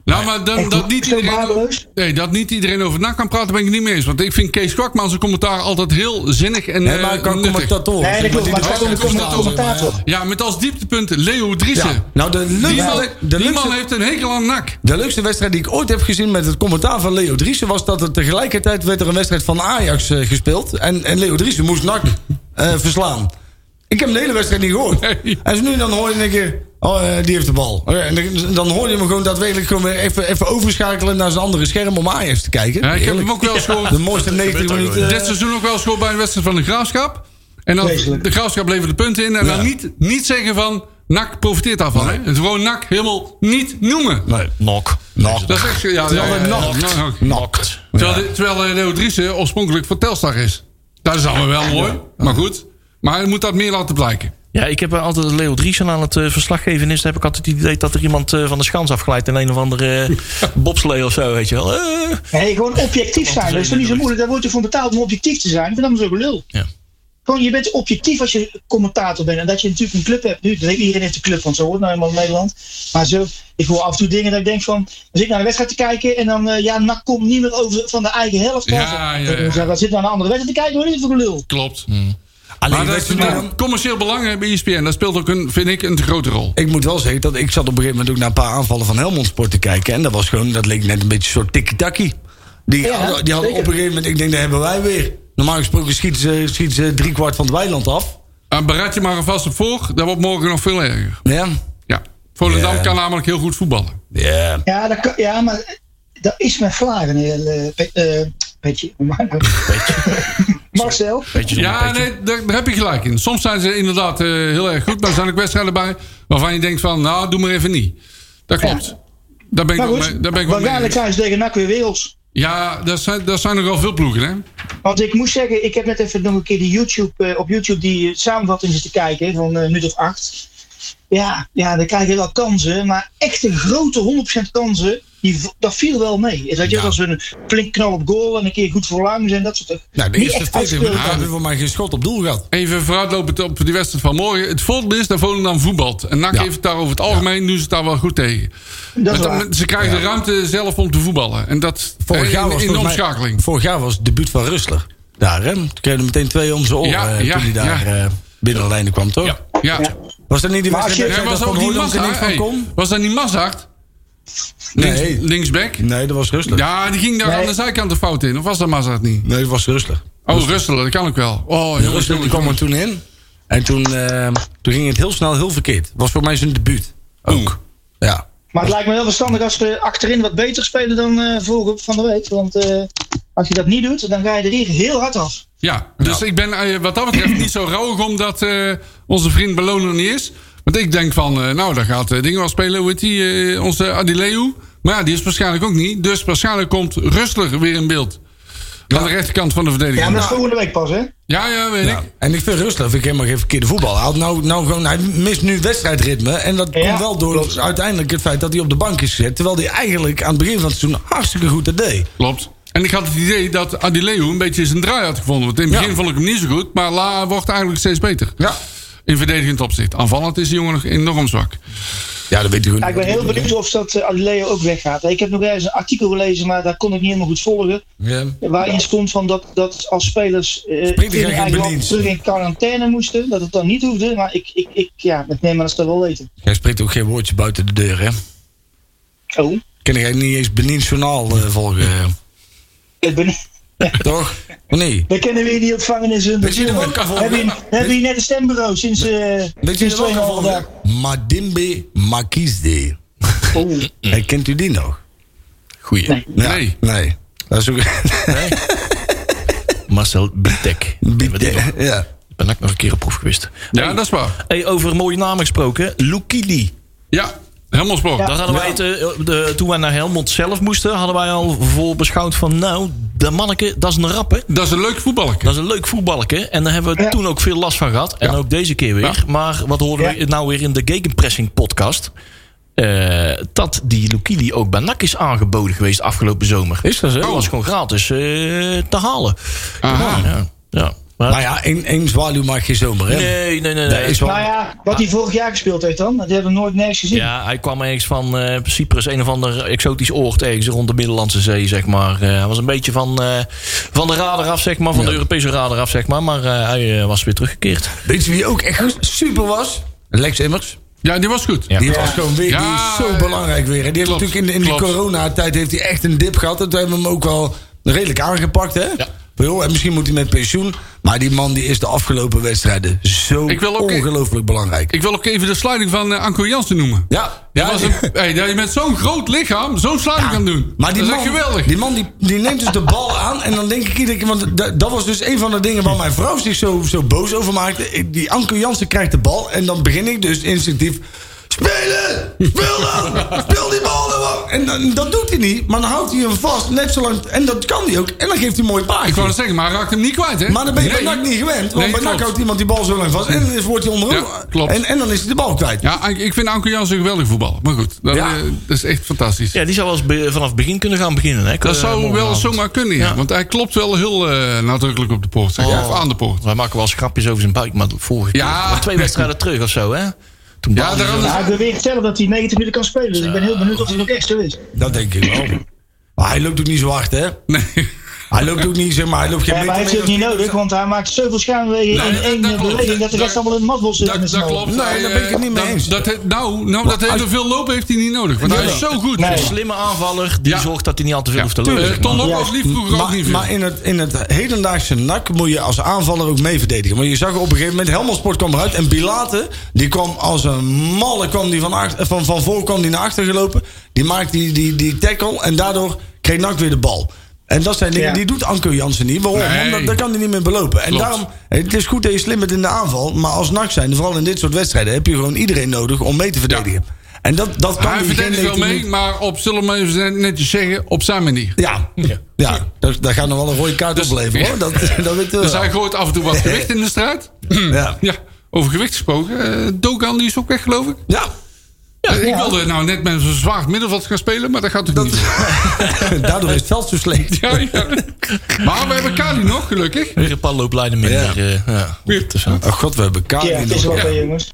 S7: Nou, maar dan,
S8: Echt
S7: dat, niet
S8: zo
S7: iedereen,
S8: waardeloos.
S7: nee, dat niet iedereen over na kan praten, ben ik het niet mee eens. Want ik vind Kees Kwakman zijn commentaar altijd heel zinnig en
S6: Nee, maar
S7: eh,
S6: ik kan
S7: nuttig.
S6: commentatoren.
S8: Nee, dat klopt. Maar het
S7: dit
S8: gaat om de
S7: is een
S8: commentator.
S6: commentator.
S7: Ja, met als dieptepunt Leo Driessen.
S6: Ja. Nou, de
S7: Die,
S6: leukste-
S7: man,
S6: de
S7: die
S6: leukste-
S7: man heeft een hekel aan nak.
S6: De leukste wedstrijd die ik ooit heb gezien met het commentaar van Leo Driessen... was dat er tegelijkertijd werd er een wedstrijd van Ajax eh, gespeeld. En, en Leo Driessen moest NAC eh, verslaan. Ik heb de hele wedstrijd niet gehoord.
S7: Nee.
S6: En zo nu en dan hoor je een keer... Oh, eh, die heeft de bal. Oh ja, En dan- dan hoor je hem gewoon daadwerkelijk gewoon weer even, even overschakelen... naar zijn andere scherm om Ajax te kijken.
S7: Ja, ik heb
S6: Heerlijk.
S7: hem ook wel eens gehoord.
S6: De mooiste 90 minuten.
S7: dit seizoen ook wel school bij een wedstrijd van de Graafschap. En dan
S8: Vreselijk.
S7: de Graafschap leverde punten in. En dan
S6: Ja.
S7: niet, niet zeggen van, NAC profiteert daarvan. hè. Het gewoon NAC helemaal niet noemen.
S6: Nee.
S5: Nok.
S6: Nog.
S7: Dat is echt... Ja, ja, ja, ja,
S6: Terwijl
S7: ja,
S6: nacht.
S7: ja, ja.
S6: Nacht.
S7: Terwijl, de- terwijl eh, Leo Driessen oorspronkelijk voor Telstar is. Dat is allemaal wel mooi. Maar goed. Maar hij moet dat meer laten blijken.
S5: Ja, ik heb altijd Leo Driesen aan het eh, verslag geven. is. Dan heb ik altijd het idee dat er iemand eh, van de schans afglijdt. En een of andere eh, bobslee of zo, weet je wel. Eh,
S8: Nee, gewoon objectief zijn. Dat is toch niet zo moeilijk. Daar wordt je voor betaald om objectief te zijn. Ik vind dat maar zo gelul.
S5: Ja.
S8: Gewoon, je bent objectief als je commentator bent. En dat je natuurlijk een club hebt. Nu, iedereen heeft een club, want zo hoort nou eenmaal in Nederland. Maar zo, ik hoor af en toe dingen dat ik denk van... Dan zit ik naar een wedstrijd te kijken en dan... eh, ja, NAC komt niet meer over van de eigen helft.
S7: Ja,
S8: af.
S7: ja, ja.
S8: Dan denk ik, Dan zit naar een andere wedstrijd te kijken. Wat is het voor gelul?
S7: Klopt.
S6: Alleen,
S7: Maar dat is
S6: weet je nou,
S7: natuurlijk commercieel belang hè, bij E ESPN. Dat speelt ook, een, vind ik, een te grote rol.
S6: Ik moet wel zeggen dat ik zat op een gegeven moment ook naar een paar aanvallen van Helmond Sport te kijken. En dat was gewoon, dat leek net een beetje een soort tikkie-takkie. Die,
S8: Ja,
S6: hadden, die hadden op
S8: zeker.
S6: een gegeven moment, ik denk, daar hebben wij weer. Normaal gesproken schieten ze, schieten ze driekwart van het weiland af.
S7: En bereid je maar alvast op voor. Dat wordt morgen nog veel erger.
S6: Ja.
S7: Ja. Volendam
S6: Ja.
S7: kan namelijk heel goed voetballen.
S6: Ja.
S8: Ja, dat kan- ja maar dat is mijn vlagen. eh, eh, Pe- eh, Petje. hoe maar nou? Marcel.
S5: Beetje zo'n
S7: Ja,
S5: beetje-
S7: nee, daar, daar heb je gelijk in. Soms zijn ze inderdaad eh, heel erg goed. Maar er zijn ook wedstrijden bij waarvan je denkt van... Nou, doe maar even niet. Dat klopt. Daar ben ik
S8: Maar
S7: wel mee.
S8: goed,
S7: Daar ben ik wel mee.
S8: waarschijnlijk zijn ze tegen NAC weer werelds.
S7: Ja, daar zijn, daar zijn er wel veel ploegen, hè?
S8: Want ik moest zeggen, ik heb net even nog een keer die YouTube, eh, op YouTube die eh, samenvatting zitten kijken van een eh, minuut of acht. ja, ja, dan krijg je wel kansen. Maar echte grote 100% kansen, die, v- dat viel wel mee. Weet je,
S7: Ja.
S8: dat was een flink knal op goal en een keer goed voorlangs en dat soort dingen.
S6: Nou, de
S8: Niet
S6: eerste
S8: echt
S6: vijf
S8: uitgespeelde
S6: minuten hebben
S8: kansen.
S6: we maar geen schot op doel gehad.
S7: Even vooruitlopend op die wedstrijd van morgen. Het voordeel is dat Volendam voetbalt. En NAC
S6: Ja.
S7: heeft het daar over het algemeen, doen ze het daar wel goed tegen.
S8: Dat is
S7: Want dan-
S8: waar.
S7: ze krijgen de ruimte zelf om te voetballen. En dat
S6: Vorig
S7: eh,
S6: jaar
S7: in,
S6: was
S7: in de
S6: volgens mij-
S7: omschakeling.
S6: vorig jaar was het debuut van Rustler. Daar, hè? Toen kregen we meteen twee om zijn oren
S7: Ja,
S6: eh,
S7: ja,
S6: toen hij daar
S7: ja.
S6: eh, binnen de lijnen kwam, toch?
S7: Ja.
S6: Was dat niet die
S8: Maar als je-
S6: wedstrijd
S7: Hij
S6: dat
S7: was
S6: Van
S7: ook die
S6: Hooydonk er
S7: massa.
S6: niet van
S7: hey,
S6: kon?
S7: was dat niet Mazzacht?
S6: Nee.
S7: Links- linksback?
S6: Nee, dat was Rustler.
S7: Ja, die ging daar
S8: Nee.
S7: aan de zijkant de fout in. Of was dat Mazzacht niet?
S6: Nee, dat was Rustler.
S8: Dus-
S7: Oh, Russelen, dat kan ook wel. Oh,
S6: Ja,
S7: jongens,
S6: Rustler die
S7: jongens,
S6: kwam er
S7: jongens.
S6: toen in. En toen, eh, toen ging het heel snel heel verkeerd. Was voor mij zijn debuut. Ook. Ja.
S8: Maar het lijkt me wel verstandig als we achterin wat beter spelen dan eh vorige van de week. Want eh, als je dat niet doet, dan ga je er hier heel hard af.
S7: Ja, dus ik ben eh, wat dat betreft niet zo rauwig omdat eh, onze vriend Bellon er niet is. Want ik denk van, eh, nou, daar gaat eh, dingen wel spelen. Hoe heet die? eh, onze Adileu. Maar ja, die is waarschijnlijk ook niet. Dus waarschijnlijk komt Rustler weer in beeld. Aan de rechterkant van de verdediging.
S8: Ja, maar dat is
S7: Nou,
S8: volgende week pas, hè?
S7: ja, ja, weet
S6: Ja.
S7: ik.
S6: En ik vind Rustler vind ik helemaal geen verkeerde voetbal. Hij, had nou, nou gewoon, hij mist nu wedstrijdritme. En dat
S8: Ja,
S6: komt wel door
S8: klopt.
S6: uiteindelijk het feit dat hij op de bank is gezet. Terwijl hij eigenlijk aan het begin van het seizoen hartstikke goed dat deed.
S7: Klopt. En ik had het idee dat Adileu een beetje zijn draai had gevonden. Want in het
S6: Ja.
S7: begin vond ik hem niet zo goed. Maar La wordt eigenlijk steeds beter.
S6: Ja.
S7: In verdedigend opzicht. Aanvallend is die jongen nog enorm zwak.
S6: Ja, dat weet hij goed.
S8: Ja, ik ben heel benieuwd of dat eh, Leo ook weggaat. Ik heb nog ergens een artikel gelezen, maar daar kon ik niet helemaal goed volgen.
S6: Ja.
S8: Waarin stond van dat, dat als spelers eh,
S6: Springt hij
S8: in
S6: geen
S8: eigen land
S6: bedienst?
S8: terug in quarantaine moesten, dat het dan niet hoefde. Maar ik, ik, ik, ja, ik neem aan dat ze dat wel weten.
S6: Jij spreekt ook geen woordje buiten de deur, hè?
S8: Oh,
S6: Ken jij niet eens Benins Journaal eh, volgen? eh?
S8: ik ben,
S6: Toch? Of niet?
S8: we kennen weer die opvangenis.
S6: Weet je hem ook al volgen?
S8: Hebben jullie- hebben jullie net een stembureau sinds, eh
S6: Weet je
S8: sinds
S6: dat ook al
S8: 2,5
S6: volgen?
S8: dag?
S6: Madimbe Makisde.
S8: Oeh.
S6: Hey, kent u die nog?
S5: Goeie.
S8: Nee.
S6: Ja.
S7: Nee.
S6: Nee. Dat is ook...
S5: Marcel Bitek. Kennen we die nog?
S6: ja.
S5: Ben ik nog een keer op proef geweest.
S7: Ja, dat is waar.
S5: Hey, over mooie namen gesproken. Lukili.
S7: Ja, helemaal sport.
S5: Dat hadden wij te- de, toen wij naar Helmond zelf moesten, hadden wij al voor beschouwd van... Nou, dat manneke, dat is een rapper.
S7: Dat is een leuk voetballerke.
S5: Dat is een leuk voetbalke. En daar hebben we
S8: Ja.
S5: toen ook veel last van gehad. En ook deze keer weer.
S7: Ja.
S5: Maar wat hoorden we
S8: Ja.
S5: nou weer in de Gegenpressing podcast? Eh, dat die Lukili ook bij NAC is aangeboden geweest afgelopen zomer.
S6: Is dat zo?
S5: Dat was gewoon gratis eh, te halen.
S7: Aha.
S5: Ja, ja. ja. Maar-
S6: Maar ja, één, één zwaluw maakt geen zomer, hè?
S5: nee, nee, nee.
S6: Dat
S5: nee.
S6: is wel...
S8: Nou ja, wat hij vorig jaar gespeeld heeft dan, dat hebben we nooit nergens gezien.
S5: Ja, hij kwam ergens van eh, Cyprus, een of ander exotisch oord ergens rond de Middellandse Zee, zeg maar. Eh, hij was een beetje van, eh, van de radar af, zeg maar, van de Europese radar af, zeg maar. Maar eh, hij eh, was weer teruggekeerd.
S6: Weet je wie ook echt super was? Lex Immers.
S7: Ja, die was goed.
S6: Die was gewoon weer die
S7: Ja,
S6: is zo
S7: ja.
S6: belangrijk weer. En die heeft
S7: Klopt,
S6: natuurlijk in, de- in die
S7: klopt.
S6: coronatijd heeft hij echt een dip gehad. En toen hebben we hem ook wel redelijk aangepakt, hè? Ja. en misschien moet hij met pensioen. Maar die man die is de afgelopen wedstrijden zo
S7: Ik wil ook-
S6: ongelooflijk belangrijk.
S7: Ik wil ook even de sliding van eh Anko Jansen noemen.
S6: ja,
S7: Dat
S6: ja
S7: was
S6: die-
S7: een, hey, dat je met zo'n groot lichaam zo'n sliding kan doen.
S6: Maar die
S7: dat is
S6: man,
S7: echt geweldig.
S6: Die man die, die neemt dus de bal aan. En dan denk ik iedere keer. Want da- dat was dus een van de dingen waar mijn vrouw zich zo, zo boos over maakte. Ik- Die Anko Jansen krijgt de bal. En dan begin ik dus instinctief. Spelen! Speel dan! Speel die bal dan! wel!" En dan, dat doet hij niet. Maar dan houdt hij hem vast. Net zolang, en dat kan hij ook. En dan geeft hij een mooi
S7: ik wou
S6: paardje.
S7: het zeggen, maar hij raakt hem niet kwijt, hè?
S6: Maar dan ben je bij
S7: Nee.
S6: NAC niet gewend. Want
S7: Nee,
S6: bij NAC
S7: klopt.
S6: houdt iemand die bal zo lang vast. En dan wordt hij onderhoog.
S7: Ja, klopt.
S6: en, en dan is hij de bal kwijt.
S7: Ja, ik- ik vind Anko Jansen een geweldig voetballer. Maar goed, dat,
S6: Ja.
S7: eh, dat is echt fantastisch.
S5: Ja, die zou wel eens be- vanaf het begin kunnen gaan beginnen. Hè?
S7: Dat
S5: Eh,
S7: zou wel
S5: morgenavond.
S7: zomaar kunnen, ja.
S5: Ja.
S7: Want hij klopt wel heel eh, nadrukkelijk op de poort. Zeg.
S6: Oh.
S7: Of aan de poort.
S5: Oh, Wij maken wel eens grapjes over zijn buik, maar vorige
S7: Ja.
S5: keer. maar Twee wedstrijden terug of zo, hè? Toen
S7: Ja,
S5: baalde
S7: daar
S5: hij zo.
S8: Nou, hij beweert zelf dat hij 90 minuten kan spelen. Dus ik ben heel benieuwd of het ook echt zo is.
S6: Dat denk ik wel. Maar hij loopt ook niet zo hard, hè?
S7: Nee.
S6: Hij loopt ook niet, zeg maar. Hij loopt geen
S8: Ja, maar hij
S6: meter
S8: heeft het
S6: meer
S8: niet nodig, want hij maakt zoveel schaamwegen
S7: Nee,
S8: in één
S7: dat klopt.
S8: beweging dat de rest
S7: Dat-
S8: allemaal in de matbol zit.
S7: Dat, dat klopt.
S6: Nee,
S7: Hij,
S6: daar ben ik het
S7: eh,
S6: niet mee
S7: dat-
S6: eens.
S7: dat he- nou, nou, dat hele veel lopen heeft hij niet nodig. Want hij is zo goed.
S5: Een
S8: Nee.
S5: slimme aanvaller die
S7: Ja.
S5: zorgt dat hij niet al te veel
S7: Ja,
S5: hoeft te
S7: tuurlijk.
S5: lopen.
S7: Eh,
S5: zeg maar.
S7: Ton Lokhoff
S6: Ja,
S7: liep vroeger ook
S6: maar,
S7: niet veel.
S6: Maar in het, in het hedendaagse NAC moet je als aanvaller ook mee verdedigen. Want je zag op een gegeven moment, Helmelsport kwam eruit. En Pilate, die kwam als een malle, kwam die van, achter, van, van voor kwam die naar achter gelopen. Die maakte die, die, die tackle en daardoor kreeg NAC weer de bal. En dat zijn dingen,
S8: Ja.
S6: die doet Anko Jansen niet. Waarom?
S7: Nee.
S6: Omdat daar kan hij niet meer belopen. En
S7: Klopt.
S6: daarom, het is goed dat je slim bent in de aanval. Maar als NAC zijn, vooral in dit soort wedstrijden, heb je gewoon iedereen nodig om mee te verdedigen. En dat, dat kan
S7: Hij
S6: die geen
S7: verdedigt wel
S6: 19
S7: mee, maar op, zullen we even netjes zeggen, op zijn manier.
S6: ja, ja. dat, dat gaat nog wel een rode kaart opleveren hoor. Dat, dat weet je wel.
S7: Dus hij gooit af en toe wat gewicht in de strijd.
S6: ja.
S7: Ja, over gewicht gesproken. Eh, Dogan die is ook weg, geloof ik.
S6: Ja,
S7: Eh, Ik wilde nou net met zo'n zwaar middenveld gaan spelen, maar dat gaat toch niet.
S6: daardoor is het veld zo slecht.
S7: Ja, ja. Maar we hebben Kali nog, gelukkig.
S5: Weer een paar looplijnen minder. eh, ja, om het te zeggen.
S6: Oh god, we hebben Kali
S8: Ja, het is
S6: nog.
S8: wel bij jongens.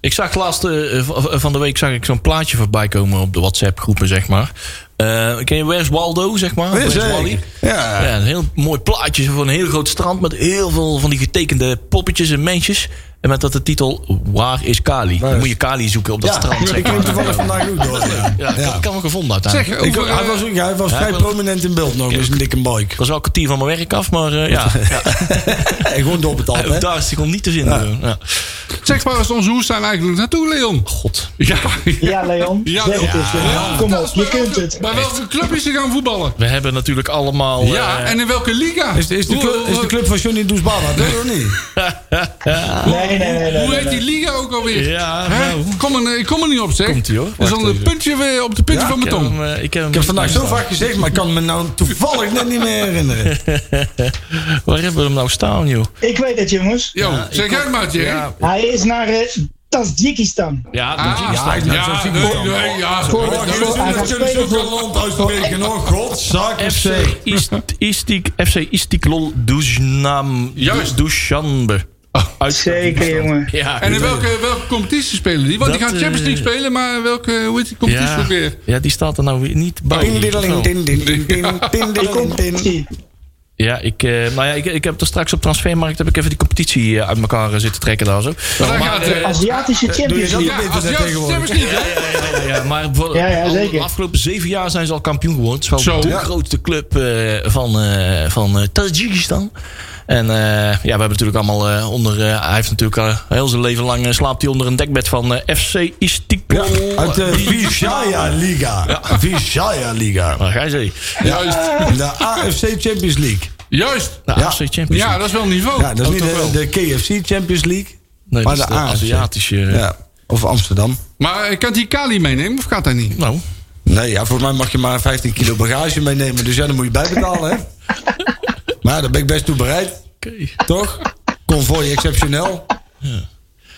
S5: Ik zag laatst eh, v- van de week zag ik zo'n plaatje voorbij komen op de WhatsApp groepen, zeg maar. Eh, ken je Where's Waldo, zeg maar?
S6: Ja,
S5: Where's
S6: zeker.
S5: Wally?
S6: Ja.
S5: Ja, een heel mooi plaatje van een heel groot strand met heel veel van die getekende poppetjes en mensjes. En met dat de titel Waar is Kali? Dan moet je Kali zoeken op dat strand.
S6: Ja,
S5: Zeg
S6: ik
S5: maar.
S6: heb toevallig vandaag ook door. Ja.
S5: Ja, ik had- ik had hem gevonden uiteindelijk.
S7: Zeg,
S6: Ik,
S7: over,
S6: hij was,
S7: eh,
S6: ook- hij was vrij
S5: wel-
S6: prominent in beeld nog, dus een dikke bike.
S5: Ik was wel een kwartier van mijn werk af, maar eh, ja, ja,
S6: En gewoon doorbetaald, hè?
S5: ook daar is hij gewoon niet te vinden. Ja.
S7: zeg maar eens ons hoe staan eigenlijk naartoe, Leon.
S5: God.
S7: Ja,
S8: Ja, Leon.
S7: Ja,
S8: zeg het
S7: Leon.
S8: eens, Leon. Kom op, je kunt het.
S7: Bij welke club is hij gaan voetballen?
S5: We hebben natuurlijk allemaal...
S7: Ja,
S5: eh,
S7: en in welke liga?
S6: Is, is, de club, is de club van Johnny Doesbala, dat of niet?
S8: Nee, nee, nee. nee,
S7: Hoe
S8: nee,
S7: heet die liga ook alweer?
S5: Ja,
S7: Hè?
S5: nou.
S7: Kom er, ik kom er niet op, zeg.
S5: Komt-ie, hoor.
S7: Dat is
S5: Wacht
S7: al een
S5: even.
S7: puntje weer op de puntje van
S5: ik
S7: mijn
S5: heb
S7: tong.
S5: hem, eh, Ik heb hem
S6: Ik heb vandaag
S5: staan.
S6: zo vaak gezegd, maar ik kan me nou toevallig net niet meer herinneren.
S5: Waar hebben we hem nou staan, joh?
S8: nee. Ik weet het, jongens.
S7: Yo, zeg jij het maar, Jerry.
S5: Ja,
S8: Hij is naar eh, Tajikistan.
S5: ja,
S7: Ah,
S5: dat is-
S7: ja,
S6: ik ben zo ziek
S7: nee,
S6: van.
S7: nee, ja,
S8: Goh,
S7: ja,
S8: goh,
S7: jullie
S8: hij gaat
S7: zullen-
S8: spelen voor-
S6: uitspreken, oh godzak.
S5: FC Ist- Istik, FC Istiklol Dusnam,
S7: Juist. Oh.
S5: Dushanbe. dus Uit-
S8: Zeker, jongen.
S5: Ja,
S7: En in welke, welke competitie spelen die? Want die
S5: Dat,
S7: gaan Champions
S5: eh,
S7: League spelen, maar welke hoe heet die competitie
S5: ja,
S7: ook weer?
S5: ja, die staat er nou weer niet bij.
S6: Ding, diddeling, din, din, din, din, din, din, din.
S8: Zie.
S5: Ja, ik, eh, nou ja, ik, ik heb er straks op Transfermarkt heb ik even die competitie eh, uit elkaar eh, zitten trekken daar zo.
S7: Daar gaat, eh,
S8: Aziatische Champions
S6: dat?
S8: League.
S7: ja,
S6: internet
S7: als juist
S6: tegenwoordig.
S7: Champions League, hè?
S5: Ja, ja, ja, maar voor,
S8: Ja, ja,
S5: al
S8: zeker.
S5: de afgelopen zeven jaar zijn ze al kampioen geworden. Het is wel
S7: Zo.
S5: de
S7: Ja.
S5: grootste club eh, van, eh, van eh, Tajikistan. En eh, ja, we hebben natuurlijk allemaal eh, onder... eh, hij heeft natuurlijk al heel zijn leven lang eh, slaapt hij onder een dekbed van eh, FC Istikol.
S6: Uit
S7: eh,
S6: de Vizhaya Liga. Vizhaya Liga.
S5: Nou, ga je zeggen.
S7: Juist,
S6: De AFC Champions League.
S7: juist.
S5: Nou,
S6: Ja.
S5: FC Champions
S7: Ja,
S5: League.
S7: dat is wel niveau.
S6: Ja, dat is niet
S7: toch
S6: de,
S7: wel.
S6: de KFC Champions League,
S5: Oh, Nee,
S6: maar
S5: dat
S6: de,
S5: is de
S6: AFC.
S5: Aziatische... eh,
S6: Ja. Of Amsterdam.
S7: Maar eh, kan die Kali meenemen of gaat dat niet?
S5: Nou,
S6: Nee, ja, volgens mij mag je maar 15 kilo bagage meenemen. Dus ja, dan moet je bijbetalen, hè? Maar ja, daar ben ik best toe bereid,
S5: oké.
S6: toch? Convoy exceptioneel.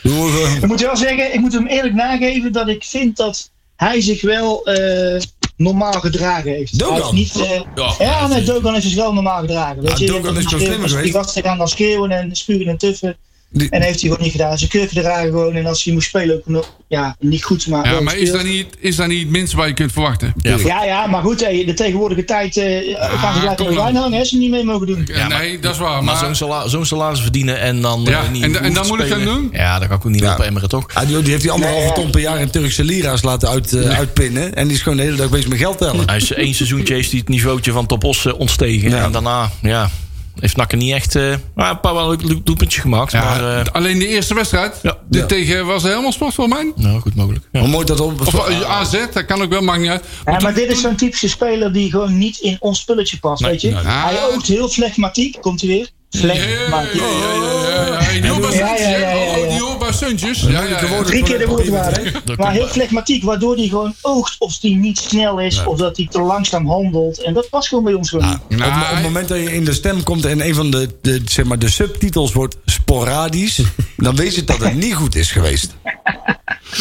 S6: Doen we gewoon.
S8: Ik moet wel zeggen, ik moet hem eerlijk nageven dat ik vind dat hij zich wel eh, normaal gedragen heeft.
S6: Dogan?
S8: Hij heeft niet, eh, ja, nee, Dogan is dus wel normaal gedragen. Weet
S6: Ja,
S8: je?
S6: Dogan is wel
S8: Die-
S6: slimmer geweest.
S8: Die gasten gaan dan schreeuwen en spugen en tuffen.
S6: Die-
S8: En heeft hij gewoon niet gedaan. Zijn keurig gedragen gewoon. En als hij moest spelen ook nog, ja, niet goed, maar
S7: Ja,
S8: wel
S7: maar is
S8: gespeeld.
S7: dat niet, is dat niet het minste wat je kunt verwachten?
S5: Ja,
S8: Ja, ja, maar goed, hey, de tegenwoordige tijd eh gaan ze gelijk
S7: kom
S8: aan
S7: dan.
S8: de lijn hangen. Hè, ze niet mee mogen doen.
S7: Eh, nee, dat is waar.
S5: Maar
S7: Maar,
S5: zo'n sala- zo'n salaris verdienen en dan eh,
S7: Ja,
S5: niet
S7: en da- en
S5: hoeven
S7: dan
S5: te
S7: moet ik
S5: spelen.
S7: gaan doen?
S5: Ja, dat kan ik ook niet
S6: Ja.
S5: op emmeren, toch?
S6: Ah, die, die heeft die anderhalve ton per jaar in Turkse lira's laten uit, eh, uitpinnen. En die is gewoon de hele dag bezig met geld tellen.
S5: Hij is één seizoentje heeft hij het niveautje van Top Os eh, ontstegen.
S6: Ja.
S5: En daarna, ja, heeft Nakken niet echt... eh, maar een paar wel leuk leuk doelpuntje gemaakt.
S7: ja,
S5: maar eh,
S7: alleen de eerste wedstrijd.
S5: Ja.
S7: Dit
S6: Ja.
S7: tegen was helemaal sport voor mij.
S5: nou, goed mogelijk. Ja.
S6: Hoe mooi dat op.
S7: Of eh, AZ, dat kan ook wel, maakt niet uit.
S8: Ja, maar dit is zo'n typische speler die gewoon niet in ons spulletje past, weet je. Hij oogt heel flegmatiek, komt hij weer. Flegmatiek.
S7: Ah. Oh, Ja, ja, ja, ja. Hey, die hoort bij
S8: Ja, ja,
S7: Suntjes, hè?
S8: ja, ja, ja.
S7: Oh, Die hoort bij Suntjes. Ja, ja, ja.
S8: Drie keer de woordwaarde.
S5: Dat
S8: Maar
S5: komt
S8: heel flegmatiek, waardoor hij gewoon oogt of hij niet snel is of dat hij te langzaam handelt. En dat past gewoon bij ons gewoon niet.
S7: Nou,
S6: op, op het moment dat je in de stem komt en een van de, de, zeg maar, de subtitels wordt sporadisch, dan weet je dat het niet goed is geweest.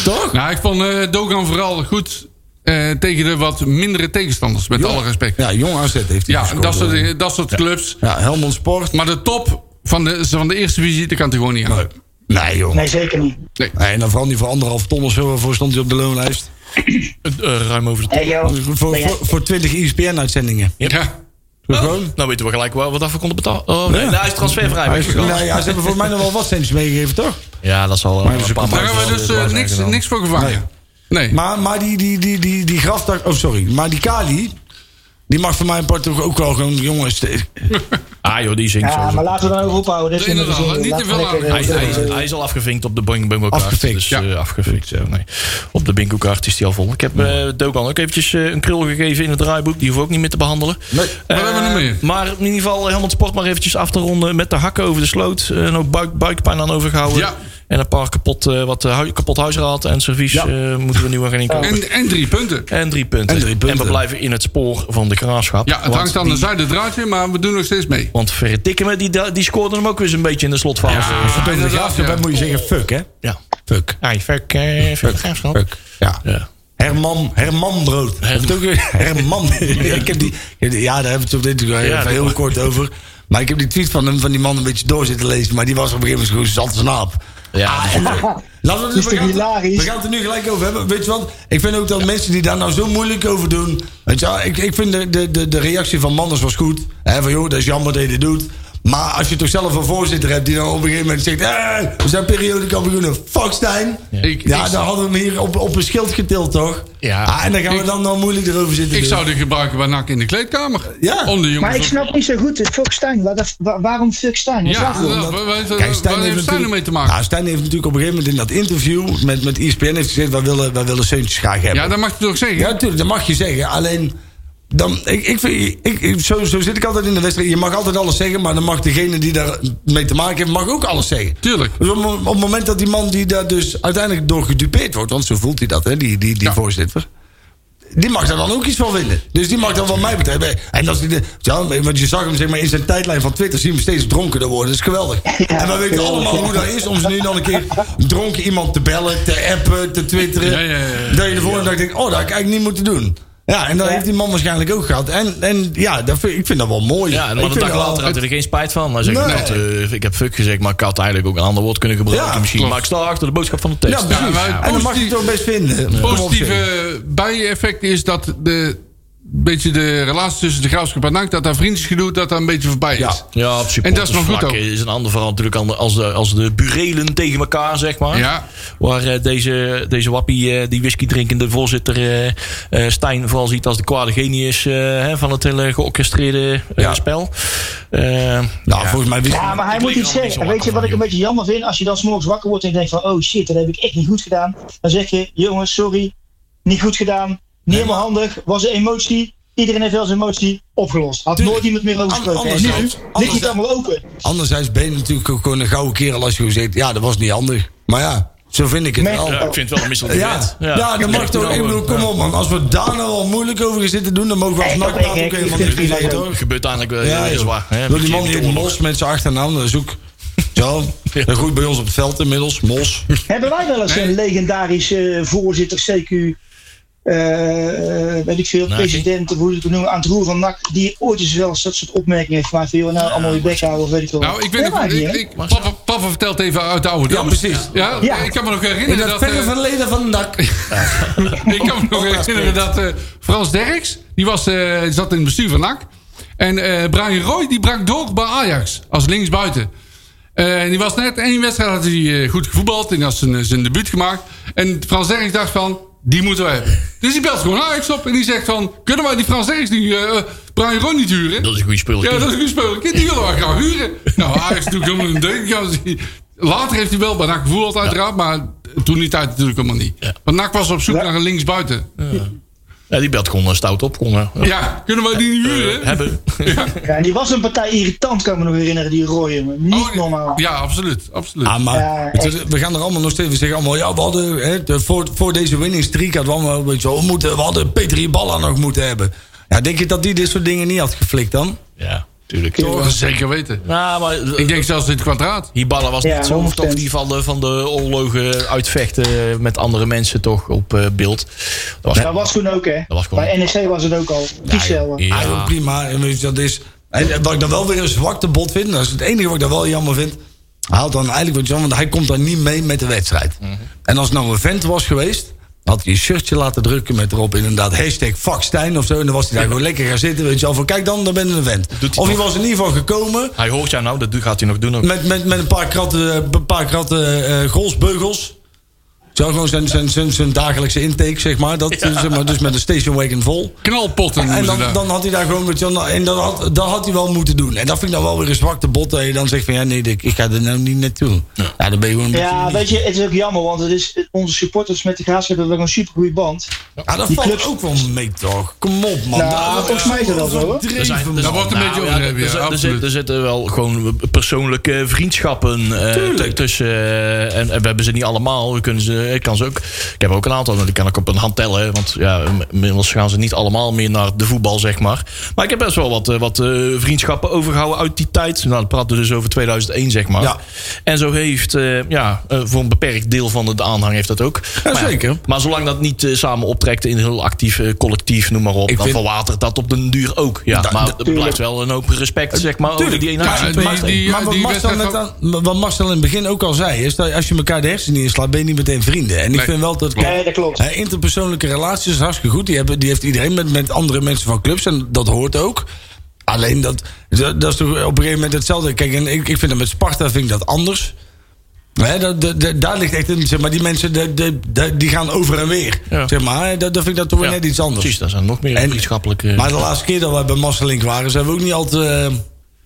S6: Toch?
S7: Nou, ik vond eh, Dogan vooral goed eh, tegen de wat mindere tegenstanders, met alle respect. Ja,
S6: Ja, jong AZ heeft hij gescoord,
S7: dat, soort,
S6: hoor.
S7: eh, dat soort clubs.
S6: Ja, Helmond Sport.
S7: Maar de top van de, van de eerste divisie, daar kan hij gewoon niet aan.
S6: Nee, joh. Nee.
S8: Nee, zeker niet.
S6: en dan vooral niet voor anderhalf ton of zo. Waarvoor stond hij op de loonlijst?
S5: Eh, eh, ruim over de...
S8: Hey, joh.
S6: Voor, voor,
S8: Ben jij-
S6: voor E 20 ISPN-uitzendingen.
S7: Ja.
S6: Gewoon.
S5: Nou weten we gelijk wel wat dat we konden betalen. Oh, nee,
S6: Ja.
S5: nou, hij is transfervrij
S6: Hij is-
S5: weggegaan.
S6: nou ja, ze hebben voor mij nog wel wat centjes meegegeven, toch?
S5: Ja, dat zal wel een paar
S7: Daar hebben we
S5: maanden
S7: dus
S5: wel
S7: eh,
S5: waar zijn
S7: niks,
S5: gedaan.
S7: niks voor gevangen. Nee.
S6: Maar, maar die, die, die, die, die grafdag. Oh, sorry. Maar die Kali. Die mag voor mijn part toch ook wel gewoon. Jongens. de-
S5: Ah joh, die zingt
S8: Ja,
S5: zo.
S8: maar laten we dan ook ophouden. Dit vinden we
S7: Inderdaad,
S8: zin in.
S7: niet te
S8: Laten
S7: veel
S8: we lekker,
S7: aan.
S5: Hij,
S8: eh,
S5: is- hij, is- hij is al afgevinkt op de Boing Bingo kaart.
S6: Afgevinkt,
S5: dus,
S7: ja.
S5: eh, afgevinkt, ja, nee. Op de bingo kaart is die al vol. Ik heb eh Dogan ook eventjes eh, een krul gegeven in het draaiboek. Die hoef ik ook niet meer te behandelen.
S6: Nee,
S5: Eh,
S7: wat hebben we nog meer?
S5: Maar in Eh, ieder geval helemaal het sport maar eventjes af te ronden. Met de hakken over de sloot. eh, en ook buik, buikpijn aan overgehouden.
S7: Ja.
S5: En een paar kapot, eh, wat eh, hui- kapot huisraad en servies
S6: Ja.
S5: eh, moeten we nu gaan inkopen.
S7: En, en drie punten.
S5: En drie punten.
S6: En drie punten.
S5: we blijven in het spoor van de graafschap.
S7: Ja, het
S5: Want
S7: hangt aan
S5: die-
S7: de zijde draadje, maar we doen nog steeds mee.
S5: Want verdikken me, die, da- die scoorde hem ook weer een beetje in de slotfase. Ja,
S6: Verdomme, de
S7: inderdaad,
S6: graafschap,
S7: ja.
S6: dan moet je zeggen fuck, hè?
S5: ja.
S6: Fuck.
S5: Ai, fuck, eh, fuck, graafschap.
S6: Fuck. Ja.
S5: Ja.
S6: Herman, Herman Brood. Heb je het ook- Herman. ik heb die, ik heb die- ja, daar hebben we het op dit even
S5: Ja, dat-
S6: heel kort over. Maar ik heb die tweet van, hem, van die man een beetje door zitten lezen. Maar die was op een gegeven moment gewoon zat zijn aap.
S5: Ja,
S6: Ah, en- Laten we,
S8: is
S6: we,
S8: toch
S6: gaan,
S8: hilarisch?
S6: we gaan het er nu gelijk over hebben. Weet je wat? Ik vind ook dat mensen die daar nou zo moeilijk over doen. Weet je, wel, ik, ik vind de, de, de, de reactie van Manders was goed. Hè, van joh, dat is jammer dat je dit doet. Maar als je toch zelf een voorzitter hebt die dan op een gegeven moment zegt: "Eh, we zijn periodekampioenen, fuck Stijn. Ja,
S7: Ik- ik-
S6: dan hadden we hem hier op, op een schild getild, toch?
S5: Ja.
S6: Ah, en dan gaan we
S7: Ik-
S6: dan nou moeilijk erover zitten.
S7: Ik
S6: doen.
S7: zou dit gebruiken bij NAC in de kleedkamer.
S6: Ja.
S7: Om de jongens
S8: Maar ik
S7: op-
S8: snap niet zo goed het Fuck Stijn. Waar dat- waar- waarom Fuck Stijn? Dat is
S7: Ja,
S8: waar voor.
S7: ja, waar- waar- waar-
S6: Kijk,
S7: waar heeft Stijn ermee
S6: natuurlijk-
S7: te maken?
S6: Nou, Stijn heeft natuurlijk op een gegeven moment in dat interview met, E met ESPN heeft gezegd: wij willen, wij willen Seuntjes graag hebben.
S7: Ja, dat mag je toch zeggen?
S6: Ja, natuurlijk, dat mag je zeggen. Alleen, dan, ik, ik, vind- ik, ik- zo, zo zit ik altijd in de wedstrijd. Je mag altijd alles zeggen, maar dan mag degene die daar mee te maken heeft, mag ook alles zeggen.
S7: Tuurlijk.
S6: Dus op, op het moment dat die man die daar dus uiteindelijk door gedupeerd wordt, want zo voelt hij dat, hè, die, die, die
S7: Ja.
S6: voorzitter. Die mag daar dan ook iets van vinden. Dus die mag dan wat mij betreft. hè, En als die de, ja, want je zag hem zeg maar, in zijn tijdlijn van Twitter zien we steeds dronkerder worden. Dat is geweldig. en we weten allemaal hoe dat is om ze nu dan een keer dronken iemand te bellen, te appen, te twitteren.
S7: Ja, ja, ja.
S6: Dat je de volgende dag denkt, oh, dat had ik eigenlijk niet moeten doen. Ja, en dat heeft die man waarschijnlijk ook gehad. En, en ja, dat vind, ik vind dat wel mooi.
S5: ja
S6: Ik
S5: maar een
S6: vind
S5: dag
S6: dat wel-
S5: later had hij er geen spijt van. Hij zegt,
S6: Nee.
S5: "Nou, eh, ik heb fuck gezegd, maar ik had eigenlijk ook een ander woord kunnen gebruiken
S6: Ja,
S5: misschien.
S7: klopt.
S5: Maar ik sta achter de boodschap van de tekst.
S6: Ja, precies.
S7: Ja, maar het
S6: en dat mag je
S7: positief-
S6: toch best vinden. Kom op, zeg.
S7: positieve bijeffect is dat de, beetje de relatie tussen de graafschap en NAC, dat daar vriendjesgedoe, dat daar een beetje voorbij is.
S6: Ja.
S5: Ja, op
S7: En dat is maar goed
S5: supportersvlak
S7: ook.
S5: is een ander verhaal natuurlijk ander- als de, als de burelen tegen elkaar, zeg maar.
S7: Ja.
S5: Waar eh, deze, deze wappie, eh, die whisky drinkende voorzitter eh, eh, Stijn vooral ziet als de kwade genius eh, hè, van het hele georchestreerde eh,
S6: Ja.
S5: spel. Eh,
S6: Nou, volgens mij wist
S8: Ja, maar hij
S5: Ik
S8: moet
S5: lig er allemaal niet
S8: iets
S5: zo
S8: zeggen. En weet
S5: wakker
S8: je wat
S5: van,
S8: ik een
S5: joh.
S8: beetje jammer vind? Als je dan s'morgens wakker wordt en je denkt van... oh shit, dat heb ik echt niet goed gedaan. Dan zeg je, jongens, sorry. Niet goed gedaan. Niet helemaal handig. Was een emotie. Iedereen heeft wel zijn emotie opgelost. Had nooit iemand meer over gesproken. En nu
S6: anderzijds-
S8: ligt het
S6: anderzijds-
S8: allemaal open.
S6: Anderzijds ben je natuurlijk ook gewoon een gouden kerel als je gewoon zegt... ja, dat was niet handig. Maar ja, zo vind ik het
S8: Nee.
S6: wel.
S5: ja, ik vind het wel een misselijk
S6: Ja,
S5: event.
S6: ja, dat mag toch. Ik bedoel, kom op man. Als we daar nou al moeilijk over gaan zitten doen... dan mogen we als
S8: Nee,
S6: NAC
S8: dat ben
S6: ook
S8: ik. Ik
S6: helemaal
S8: vind
S6: niet
S8: het
S6: zeggen,
S8: niet
S6: toch?
S5: Het gebeurt eigenlijk wel
S6: Ja,
S5: heel
S6: joh.
S5: zwaar. hè.
S6: Door die
S5: Beetje
S6: man die heet
S5: onder-
S6: Mos met zijn achternaam, dat is ook... Zo, dat groeit bij ons op het veld inmiddels, Mos.
S8: Hebben wij wel eens
S7: Nee.
S8: een legendarische eh, voorzitter, CQ, eh, eh, weet ik veel,
S5: Naki?
S8: president of hoe je het moet noemen, aan het roer van NAC, die ooit eens wel eens dat soort opmerkingen heeft gemaakt van, joh, nou, allemaal je bek houden of weet ik veel.
S7: Nou, ik weet
S8: Ja,
S7: nog-
S8: maar niet,
S7: ik,
S8: hè?
S7: ik, papa, papa vertelt even uit de oude
S6: Ja,
S7: doos.
S6: precies.
S7: Ja,
S8: Ja.
S7: ik kan me nog
S6: In
S7: herinneren
S6: dat
S7: dat...
S6: verre
S7: eh,
S6: verleden van NAC.
S7: ik kan me nog herinneren dat eh, Frans Derks, die was, eh, zat in het bestuur van NAC. En eh, Brian Roy, die brak door bij Ajax, als linksbuiten. Eh, en die was net één wedstrijd, had hij eh, goed gevoetbald en had zijn, eh, zijn debuut gemaakt. En Frans Derks dacht van, die moeten we hebben. Dus die belt gewoon Ajax op en die zegt van, kunnen wij die Frans Derks nu, eh, Brian Roy niet huren?
S5: Dat is een goede spul.
S7: Ja, dat is een goed spel. Ik die willen we graag huren. Nou, Ajax doet helemaal een deuk. Ja, als Dus hij- Later heeft hij wel bij NAC gevoeld uiteraard, maar toen die tijd natuurlijk helemaal niet. Want NAC was op zoek naar een linksbuiten.
S5: Ja, die belt gewoon eh, stout op. Kon, eh,
S7: Ja, kunnen wij die niet huren?
S5: eh, hebben.
S8: Ja, en die was een partij irritant, kan ik me nog herinneren, die rooien, maar niet
S7: Oh,
S8: normaal.
S7: Ja, absoluut. absoluut.
S5: Ah,
S6: Ja, Ah, maar
S8: Ja,
S6: het is- we gaan er allemaal nog steeds we zeggen allemaal, ja, we hadden hè, de- voor, voor deze winning streak hadden we allemaal een beetje, oh, we, moeten, we hadden Peter Iballa nog moeten hebben. Ja, denk je dat die dit soort dingen niet had geflikt dan?
S5: Ja, tuurlijk.
S7: Dat zeker weten.
S5: Nou, maar
S7: Ik denk zelfs in het kwadraat.
S5: Hibala was
S8: Ja,
S5: niet zo of
S8: 100%.
S5: toch die van de, van de oorlogen uitvechten met andere mensen toch op eh, beeld. Dat was,
S8: Dat was toen ook, hè.
S5: was gewoon-
S8: Bij NEC was het ook al. Precies hetzelfde.
S5: Ja.
S6: Ja, Ah, joh, prima. En weet je, dat is, en wat ik dan wel weer een zwakte bot vind, dat is het enige wat ik dan wel jammer vind. Hij haalt dan eigenlijk wat jammer, want hij komt dan niet mee met de wedstrijd.
S5: Mhm.
S6: En als het nou een vent was geweest, had hij een shirtje laten drukken met erop inderdaad hashtag fuck Stijn of zo. En dan was hij daar gewoon lekker gaan zitten, weet je wel. Van kijk dan, dan ben je een vent.
S5: Doet hij
S6: Of hij
S5: toch.
S6: was in ieder geval gekomen.
S5: Hij hoort jou nou, dat gaat hij nog doen. Ook.
S6: Met, met, met een paar kratten, een paar kratten eh, golfsbeugels. Zou gewoon zijn, zijn, zijn, zijn dagelijkse intake, zeg maar. Dat, zeg maar dus met een station wagon vol.
S7: Knalpotten
S6: En
S7: noemen ze
S6: dan,
S7: dat.
S6: dan had hij daar gewoon met Jan. En dat had, dat had hij wel moeten doen. En dat vind ik dan wel weer een zwakte bot. Dat je dan zegt van ja, nee, ik ik ga er nou niet naartoe. Ja, dan ben je gewoon. een beetje
S8: Ja,
S6: niet-
S8: weet je, het is ook jammer, want het is, onze supporters met de Graafschap hebben wel een supergoeie band.
S6: Ja, dat
S8: die
S6: valt
S8: clubs-
S6: ook wel mee, toch? Kom op, man. eh,
S8: Nou, volgens mij is dat wel, hoor.
S5: Er zijn- er- Nou
S7: Dat wordt een beetje
S5: ja,
S7: overdreven, ja,
S5: er- er,
S7: absoluut.
S5: zit- er zitten wel gewoon persoonlijke vriendschappen eh, t- tussen. eh, en, en we hebben ze niet allemaal. We kunnen ze, ik, kan ze ook, ik heb ook een aantal, maar die kan ik op een hand tellen. Want ja, inmiddels gaan ze niet allemaal meer naar de voetbal, zeg maar. Maar ik heb best wel wat, eh, wat eh, vriendschappen overgehouden uit die tijd. Nou, dan praten we dus over 2001, zeg maar.
S6: Ja.
S5: En zo heeft, eh, ja, eh, voor een beperkt deel van de aanhang heeft dat ook. Maar
S6: zeker.
S5: Maar zolang dat niet eh, samen optrekt in een heel actief eh, collectief, noem maar op,
S6: Ik
S5: dan
S6: vind-
S5: verwatert dat op den duur ook. Ja, Ah, maar er blijft wel een hoop respect, zeg maar, over die ene
S7: Ja,
S5: actie.
S7: die-
S5: Twee acties.
S7: die-
S6: maar wat Marcel,
S7: wedstrijd
S6: net aan- wat Marcel in het begin ook al zei, is dat als je elkaar de hersenen inslaat, ben je niet meteen vrienden. En ik
S7: Nee.
S6: vind wel dat.
S7: Klopt.
S8: Nee, dat klopt.
S6: Hè, interpersoonlijke relaties is hartstikke goed. Die, hebben, die heeft iedereen met, met andere mensen van clubs. En dat hoort ook. Alleen dat, dat, dat is toch op een gegeven moment hetzelfde. Kijk, en ik, ik vind dat met Sparta vind ik dat anders. Hè, dat, dat- dat- daar ligt echt in. Zeg maar, die mensen de, de, de- die gaan over en weer.
S5: Ja.
S6: Zeg maar, hè, dat, dat vind ik dat toch weer net iets anders.
S5: Precies, daar zijn nog meer
S6: En-
S5: vriendschappelijke...
S6: Maar de laatste keer dat wij bij Masselink waren, zijn we ook niet altijd. eh,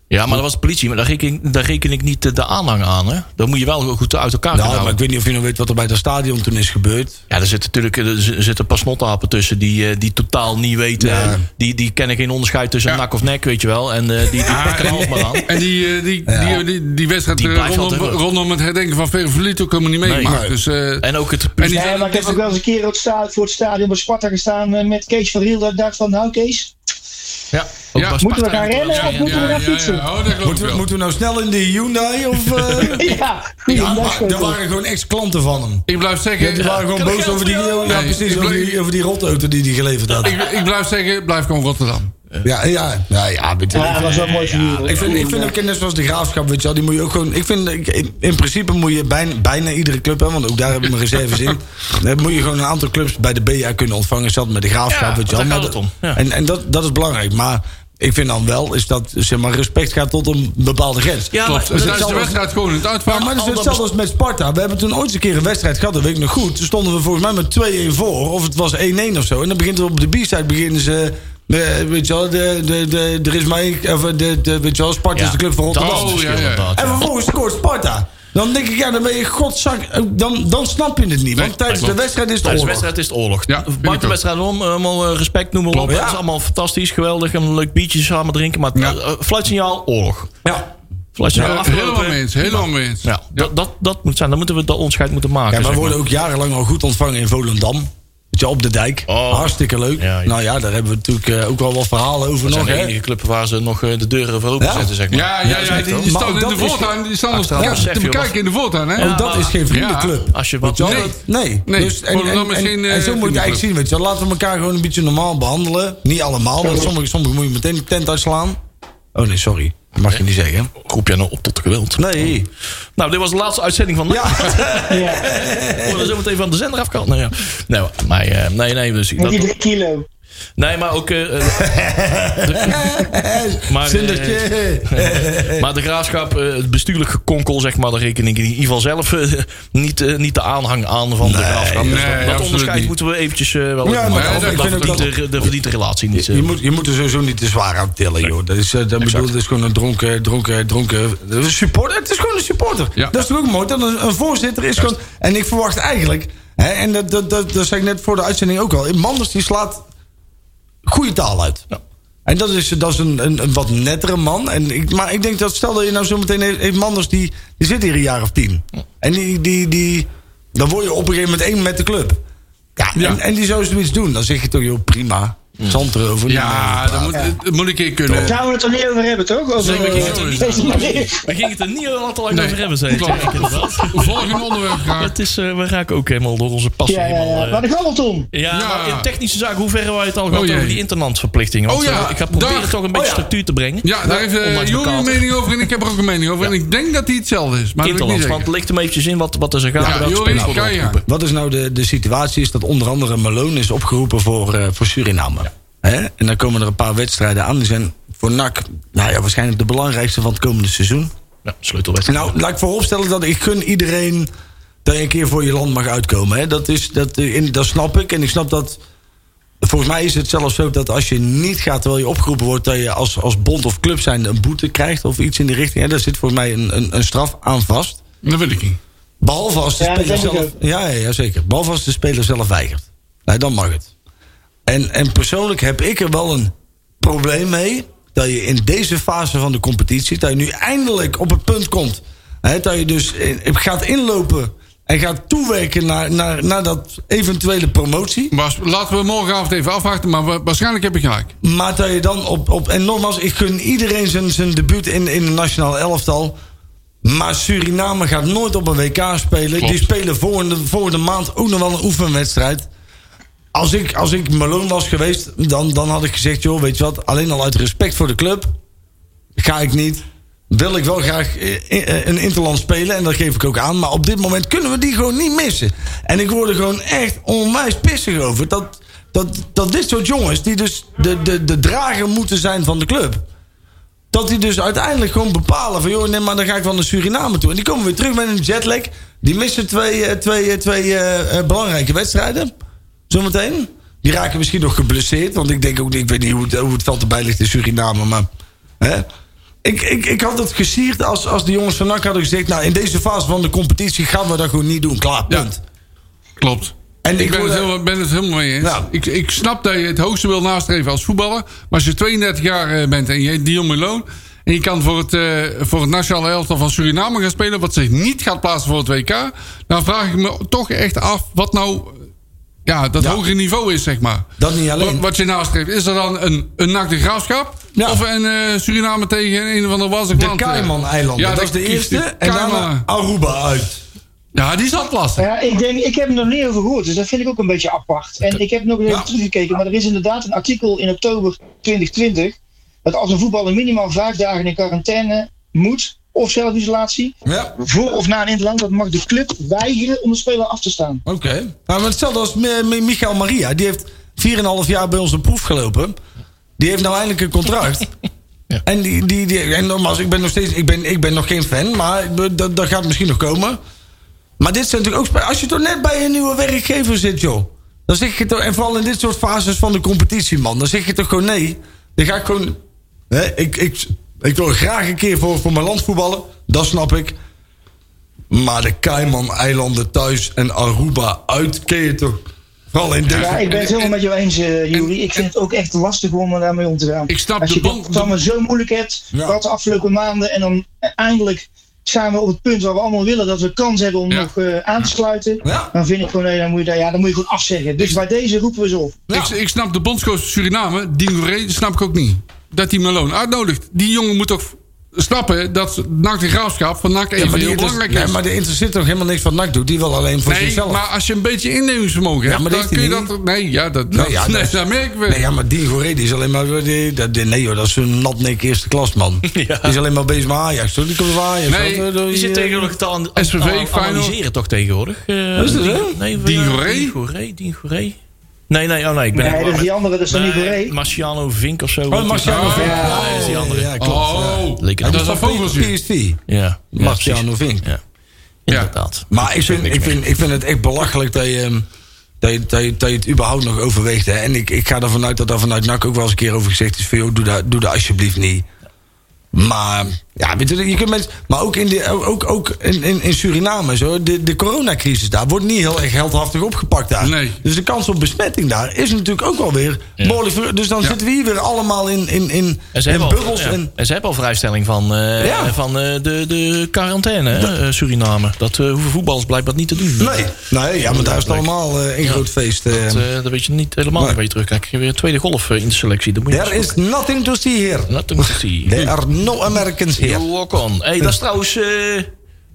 S5: ja, maar dat was de politie. Maar daar reken, daar reken ik niet eh, de aanhang aan, hè. Daar moet je wel goed uit elkaar gaan
S6: nou,
S5: houden.
S6: maar ik weet niet of je nog weet wat er bij dat stadion toen is gebeurd.
S5: Ja, er zitten natuurlijk eh, er z- zitten een paar snottapen tussen die, eh, die totaal niet weten.
S6: Ja.
S5: eh, Die, die kennen geen onderscheid tussen
S7: Ja.
S5: nak of nek, weet je wel. En eh, die, die pakken alles maar aan.
S7: En die, eh, die, die, die, die wedstrijd
S5: Die
S7: eh,
S5: blijft
S7: rondom,
S5: altijd wel.
S7: rondom het herdenken van Ferrovelito komen we niet meegemaakt.
S5: Nee.
S7: Dus, eh,
S5: En ook het...
S7: die-
S8: Nee, maar ik heb ook wel eens een keer op het sta- voor het stadion bij Sparta gestaan eh, met Kees van Riel. Dat ik dacht van, nou Kees,
S5: ja, ook
S7: Ja.
S5: bij
S8: moeten we
S5: Sparta
S8: gaan
S5: natuurlijk
S8: rennen
S5: wel
S8: of
S5: zeggen.
S8: moeten we
S7: ja,
S8: gaan fietsen? Ja,
S7: Oh, dat geloof ik
S6: Moeten we,
S7: wel.
S6: moeten we nou snel in de Hyundai? Of, eh?
S8: goeie,
S6: ja,
S8: dat
S6: maar
S8: is
S6: er
S8: goed.
S6: waren gewoon ex-klanten van hem.
S7: Ik blijf
S6: Ja,
S7: zeggen,
S6: die waren gewoon boos over die, ja,
S7: Nee,
S6: precies,
S7: ik
S6: over
S7: bleef-
S6: die, over die rotauto die hij geleverd had.
S7: ik, ik blijf zeggen, blijf gewoon Rotterdam.
S6: Ja, ja, ja, ja, weet je,
S8: Ja, dat was wel mooi figuur. hoor.
S6: Ik vind, ik vind ook net zoals de graafschap, weet je wel, die moet je ook gewoon. Ik vind, ik- in- in principe moet je bijna, bijna iedere club hebben, want ook daar heb ik mijn reserves in. Dan moet je gewoon een aantal clubs bij de BA kunnen ontvangen, zelfs met de graafschap,
S5: Ja,
S6: weet je wel.
S5: daar
S6: Maar
S5: gaat
S6: dat-
S5: het om, ja.
S6: En, en dat, dat is belangrijk, maar ik vind dan wel, is dat zeg maar, respect gaat tot een bepaalde grens.
S5: Ja, maar
S7: Klopt. Dus
S5: dat
S7: daar
S5: is
S7: is de
S5: wel-
S7: wedstrijd gewoon in het
S6: Ja,
S7: uitvak.
S6: Ah, maar dat is
S5: Al dat
S6: hetzelfde als met Sparta. We hebben toen ooit eens een keer een wedstrijd gehad, dat weet ik nog goed. Toen stonden we volgens mij met 2-1 voor, of het was 1-1 of zo. En dan begint het op de B-side, beginnen ze... eh, weet je wel, de, de, de, er is maar één- eh, of de, de, weet je wel, Sparta is de club van Rotterdam.
S5: Dat is het verschil
S7: Oh, ja, ja.
S5: inderdaad,
S6: En vervolgens scoort Sparta. Dan denk ik, ja, dan ben je godzak... eh, Dan, dan snap je het niet, want
S7: Nee,
S6: tijdens
S7: klopt.
S6: de wedstrijd is
S5: Tijdens
S6: het
S5: de
S6: oorlog.
S5: wedstrijd is het oorlog.
S7: Ja, vind
S5: Maak
S7: ik
S5: de
S7: ook.
S5: wedstrijd om, allemaal eh, respect, noem maar op.
S6: Klopt,
S5: Het is
S6: ja.
S5: allemaal fantastisch, geweldig. Een leuk biertje samen drinken. Maar
S7: Ja.
S5: eh, fluitsignaal, oorlog.
S6: Ja.
S5: Fluitsignaal
S7: Ja,
S5: afgelopen.
S7: helemaal mee eens, helemaal mee eens.
S5: Ja, Dat, dat, dat moet zijn. Dan moeten we dat onderscheid moeten maken.
S6: Ja, wij
S5: zeg
S6: worden ook jarenlang al goed ontvangen in Volendam. Weet je, op de dijk.
S5: Oh.
S6: Hartstikke leuk.
S5: Ja, ja.
S6: Nou ja, daar hebben we natuurlijk eh, ook wel wat verhalen over
S5: Dat
S6: nog.
S5: zijn de
S6: hè.
S5: enige club waar ze nog eh, de deuren voor open
S6: Ja.
S5: zetten, zeg maar.
S7: Ja, ja, ja, die, die
S6: Maar
S7: staan
S6: ook
S7: in
S6: dat
S7: de
S6: is-
S7: voortuin. Die staan nog
S5: Achteraf,
S7: ja,
S5: besef
S7: te
S5: je wat-
S7: bekijken in de voortuin, hè?
S6: Ook dat is geen vriendenclub.
S5: Als je wat...
S6: Weet je wel,
S5: Nee.
S6: dat- Nee.
S7: Nee.
S6: Dus, en, en,
S7: Volendam is
S6: en-
S7: geen, eh,
S6: en zo moet je het eigenlijk zien. Weet je. wel. Laten we elkaar gewoon een beetje normaal behandelen. Niet allemaal, want sommigen sommige moet je meteen de tent uitslaan. Oh nee, sorry. Dat mag je niet zeggen.
S5: Roep jij nou op tot geweld?
S6: Nee.
S5: Nou, dit was de laatste uitzending van... Ja.
S8: Ja,
S5: We worden zo meteen van de zender afkant. Nou ja. Nee, maar, maar, eh, nee, nee. Dus,
S8: met die
S5: dat,
S8: drie kilo.
S5: nee, maar ook... eh, eh, Maar, eh,
S6: Zindertje.
S5: Maar de graafschap, eh, het bestuurlijk gekonkel, zeg maar, daar reken ik in ieder geval zelf eh, niet, eh, niet de aanhang aan van de graafschap. Dus
S7: nee,
S5: dat- dat
S7: absoluut
S5: onderscheid
S7: niet.
S5: moeten we eventjes eh, wel
S6: Ja,
S5: even
S6: maar
S5: maken.
S6: dat-
S5: Dat
S6: ik vind ook
S5: verdient de, de verdiente relatie niet. eh.
S6: Je moet, je moet er sowieso niet te zwaar aan tillen, joh. Dat is, eh, dat bedoel, dat is gewoon een dronken, dronken, dronken dat is een supporter. Het is gewoon een supporter.
S7: Ja.
S6: Dat is toch ook mooi? Dat een, een voorzitter is gewoon... En ik verwacht eigenlijk... Hè, en dat, dat, dat, dat zei ik net voor de uitzending ook al. Manders die slaat goede taal uit. En dat is, dat is een, een, een wat nettere man. En ik, maar ik denk dat, stel dat je nou zometeen heeft, heeft Manders, die, die zit hier een jaar of tien. En die, die, die, dan word je op een gegeven moment één met de club. Ja,
S7: Ja.
S6: En, en die zou zoiets doen. Dan zeg je toch, joh, prima. Zand erover.
S7: Ja, dat moet, dat moet ik een keer kunnen.
S8: Daar gaan we het er niet over hebben, toch? Over,
S5: Nee, maar ik-
S8: eh, deze manier.
S5: We gingen het er niet al te lang
S7: Nee.
S5: over hebben, zei ik.
S7: Klopt.
S5: Ja, inderdaad.
S7: Volgende onderwerp graag.
S5: Het is, eh, we raken ook helemaal door onze passie.
S8: Ja, ja,
S5: helemaal,
S8: ja.
S5: eh.
S8: Waar de galt om.
S5: Ja,
S7: Ja. Oh,
S5: maar in technische zaken, hoe ver hebben wij het al gehad
S7: jee.
S5: over die internantverplichting? Want
S7: Oh ja,
S5: eh, ik ga proberen
S7: dag. Oh,
S5: toch een beetje structuur te brengen.
S7: Ja, daar heeft uh,
S5: Ondanks
S7: Jorie
S5: mijn
S7: een
S5: kater.
S7: mening over en ik heb er ook een mening over. En ik denk dat die hetzelfde is, maar dat weet ik niet
S5: Interland, want
S7: zeker.
S5: ligt hem eventjes in wat, wat er zo gaat.
S7: Ja,
S5: welke
S7: Jorie,
S5: spelers
S7: kan
S5: worden
S7: je.
S5: opgeroepen.
S6: Wat is nou de, de situatie? Is dat onder andere Malone is opgeroepen voor, eh, voor Suriname. Hè? En dan komen er een paar wedstrijden aan. Die zijn voor NAC nou ja, waarschijnlijk de belangrijkste van het komende seizoen.
S5: Ja, sleutelwedstrijd.
S6: Nou, laat ik vooropstellen dat ik gun iedereen dat je een keer voor je land mag uitkomen. Hè? Dat, is, dat, eh, en dat snap ik. En ik snap dat. Volgens mij is het zelfs zo dat als je niet gaat terwijl je opgeroepen wordt, dat je als, als bond of club zijn een boete krijgt of iets in die richting. Hè? Daar zit volgens mij een, een, een straf aan vast.
S7: Dat wil ik niet.
S6: Behalve als de
S8: Ja, dat
S6: speler
S8: denk ik
S6: zelf.
S8: ook.
S6: Ja, ja, ja, zeker. Behalve als de speler zelf weigert. Nee, dan mag het. En, en persoonlijk heb ik er wel een probleem mee. Dat je in deze fase van de competitie. dat je nu eindelijk op het punt komt. Hè, dat je dus in- gaat inlopen. en gaat toewerken naar, naar, naar dat eventuele promotie.
S7: Bas, laten we morgenavond even afwachten, maar wa- waarschijnlijk heb je gelijk.
S6: Maar dat je dan op. op en nogmaals, ik gun iedereen zijn, zijn debuut in, in de nationale elftal. Maar Suriname gaat nooit op een WK spelen.
S7: Klopt.
S6: Die spelen volgende, volgende maand ook nog wel een oefenwedstrijd. Als ik, als ik Malone was geweest, dan, dan had ik gezegd: joh, weet je wat, alleen al uit respect voor de club ga ik niet. Wil ik wel graag eh, eh, een interland spelen en dat geef ik ook aan. Maar op dit moment kunnen we die gewoon niet missen. En ik word er gewoon echt onwijs pissig over. Dat, dat, dat dit soort jongens, die dus de, de, de drager moeten zijn van de club. Dat die dus uiteindelijk gewoon bepalen van... joh, nee, maar dan ga ik wel naar Suriname toe. En die komen weer terug met een jetlag. Die missen twee, eh, twee, eh, twee eh, eh, belangrijke wedstrijden. Zometeen. Die raken misschien nog geblesseerd. Want ik denk ook niet, ik weet niet hoe het, hoe het veld erbij ligt in Suriname. Maar hè? Ik, ik, ik had het gesierd als, als de jongens van NAC hadden gezegd... nou, in deze fase van de competitie gaan we dat gewoon niet doen. Klaar,
S7: Ja.
S6: punt.
S7: Klopt.
S6: En
S7: ik
S6: ik
S7: ben,
S6: word-
S7: het heel, ben het helemaal mee eens.
S6: Nou.
S7: Ik, ik snap dat je het hoogste wil nastreven als voetballer. Maar als je 32 jaar eh, bent en je heet Dion Malone... en je kan voor het, eh, voor het nationale elftal van Suriname gaan spelen... wat zich niet gaat plaatsen voor het WK... dan vraag ik me toch echt af wat nou eh, ja, dat
S6: Ja.
S7: hogere niveau is, zeg maar.
S6: Dat niet alleen.
S7: Wat, wat je nastreeft. Is dat dan een, een nakte graafschap?
S6: Ja.
S7: Of een eh, Suriname tegen een of ander wazig
S6: De
S7: land, eh?
S6: Cayman-eilanden,
S7: Ja,
S6: dat is de eerste. En daarna
S7: Cayman.
S6: Aruba uit.
S7: Ja, die zat lastig.
S8: Ja, ik, denk, ik heb er nog niet over gehoord, dus dat vind ik ook een beetje apart. En ik heb nog eens even teruggekeken, maar er is inderdaad een artikel in oktober 2020 dat als een voetballer minimaal vijf dagen in quarantaine moet of zelfisolatie,
S6: Ja, oké.
S8: voor of na een interland, dat mag de club weigeren om de speler af te staan.
S6: Nou, maar hetzelfde als Mi- Mi- Michael Maria. Die heeft 4,5 jaar bij ons een proef gelopen. Die heeft nou eindelijk een contract.
S5: Ja.
S6: En, die, die, die, en nogmaals, ik ben nog steeds... Ik ben, ik ben nog geen fan, maar ik be- dat, dat gaat misschien nog komen. Maar dit zijn natuurlijk ook... spe- Als je toch net bij een nieuwe werkgever zit, joh. Dan zeg je toch... En vooral in dit soort fases van de competitie, man. Dan zeg je toch gewoon nee. Dan ga ik gewoon... Hè, ik, ik, ik wil graag een keer voor, voor mijn land voetballen. Dat snap ik. Maar de Cayman-eilanden thuis en Aruba uit... Ken je toch... Vooral in deze...
S8: Ja, ik ben het helemaal met jou eens, eh Juri. Ik vind het ook echt lastig om er daarmee om te gaan.
S7: Ik snap
S8: Als
S7: de
S8: je
S7: band-
S8: dat allemaal zo moeilijk hebt,
S6: Ja.
S8: wat de afgelopen maanden, en dan eindelijk zijn we op het punt waar we allemaal willen dat we kans hebben om
S7: Ja.
S8: nog eh, aan te sluiten,
S6: Ja.
S8: dan vind ik gewoon, nee, dan moet je, daar- ja, dan moet je gewoon afzeggen. Dus bij deze roepen we ze op.
S6: Ja.
S7: Ik, ik snap de bondscoach van Suriname, Dino Rey, snap ik ook niet. Dat hij Malone uitnodigt. Die jongen moet toch snappen dat NAC de graafschap van NAC even
S6: Ja, maar,
S7: heel
S6: die,
S7: belangrijk
S6: nee,
S7: is.
S6: maar de interesseert toch helemaal niks wat NAC doet. Die wil alleen voor
S7: nee,
S6: zichzelf.
S7: maar als je een beetje inneemingsvermogen hebt,
S6: maar
S7: dan
S6: dat
S7: kun
S6: heeft
S7: je
S6: hij
S7: dat... Nee, ja, dat, dat,
S6: ja,
S7: nee,
S6: dat-
S7: dat merken we.
S6: Nee, ja, maar Dean Goré, die is alleen maar... Die, dat- die- nee joh, dat is een natnek eerste klas, man.
S5: Ja.
S6: Die is alleen maar bezig met Ajax. Hoor. Die komt van Ajax.
S7: Nee,
S6: hoor.
S5: Die zit
S6: eh,
S5: tegenwoordig te an-
S7: SVV,
S5: an-
S7: Feyenoord.
S5: analyseren toch tegenwoordig? Eh,
S6: Is dat
S5: die-
S6: zo?
S5: Nee,
S7: Dien
S5: ja,
S7: Goré?
S5: Dien Goré, Dien Goré. Nee, nee, oh nee, ik ben helemaal
S8: Nee, dat is
S5: met-
S8: die andere, dat is dan niet Goré.
S5: Marciano Vink of zo.
S6: Oh, Marciano
S7: Oh,
S6: Vink.
S7: ja,
S5: dat Ah, is die andere.
S6: Ja, klopt. ja.
S7: Oh,
S5: Leek het
S7: dat is
S5: allemaal
S7: een vogeltje.
S6: PSV.
S5: Ja, ja,
S6: Marciano
S5: precies.
S6: Vink.
S5: Ja,
S7: Ja.
S5: inderdaad.
S6: Maar ik vind, ik, vind, ik vind het echt belachelijk dat je, ehm, dat je, dat je, dat je het überhaupt nog overweegt. Hè. En ik, ik ga ervan uit dat daar vanuit NAC ook wel eens een keer over gezegd is... van joh, doe dat, doe dat alsjeblieft niet. Maar, ja, weet je, je kunt mensen, maar ook in, de, ook, ook in, in, in Suriname, zo, de, de coronacrisis daar wordt niet heel erg heldhaftig opgepakt daar.
S7: Nee.
S6: Dus de kans op besmetting daar is natuurlijk ook wel weer behoorlijk. ver- Dus dan
S7: Ja.
S6: zitten we hier weer allemaal in, in, in,
S5: En ze,
S6: in
S5: hebben
S6: bubbels.
S5: al, ja.
S6: En,
S5: en ze hebben al vrijstelling van, eh,
S6: Ja.
S5: van eh, de, de quarantaine, hè, eh, Suriname. Dat eh, hoeven voetballers blijkbaar niet te doen.
S6: nee, nee, ja, maar daar is het allemaal eh, een groot feest. eh.
S5: Dat, eh, dat weet je niet helemaal
S6: Nee.
S5: bij je terug. Kijk, je hebt weer een tweede golf eh, in de selectie. Dat moet je
S6: There is nothing to see here.
S5: Laat hem zien.
S6: There are no Americans here.
S5: You walk on. hey, dat is trouwens... eh,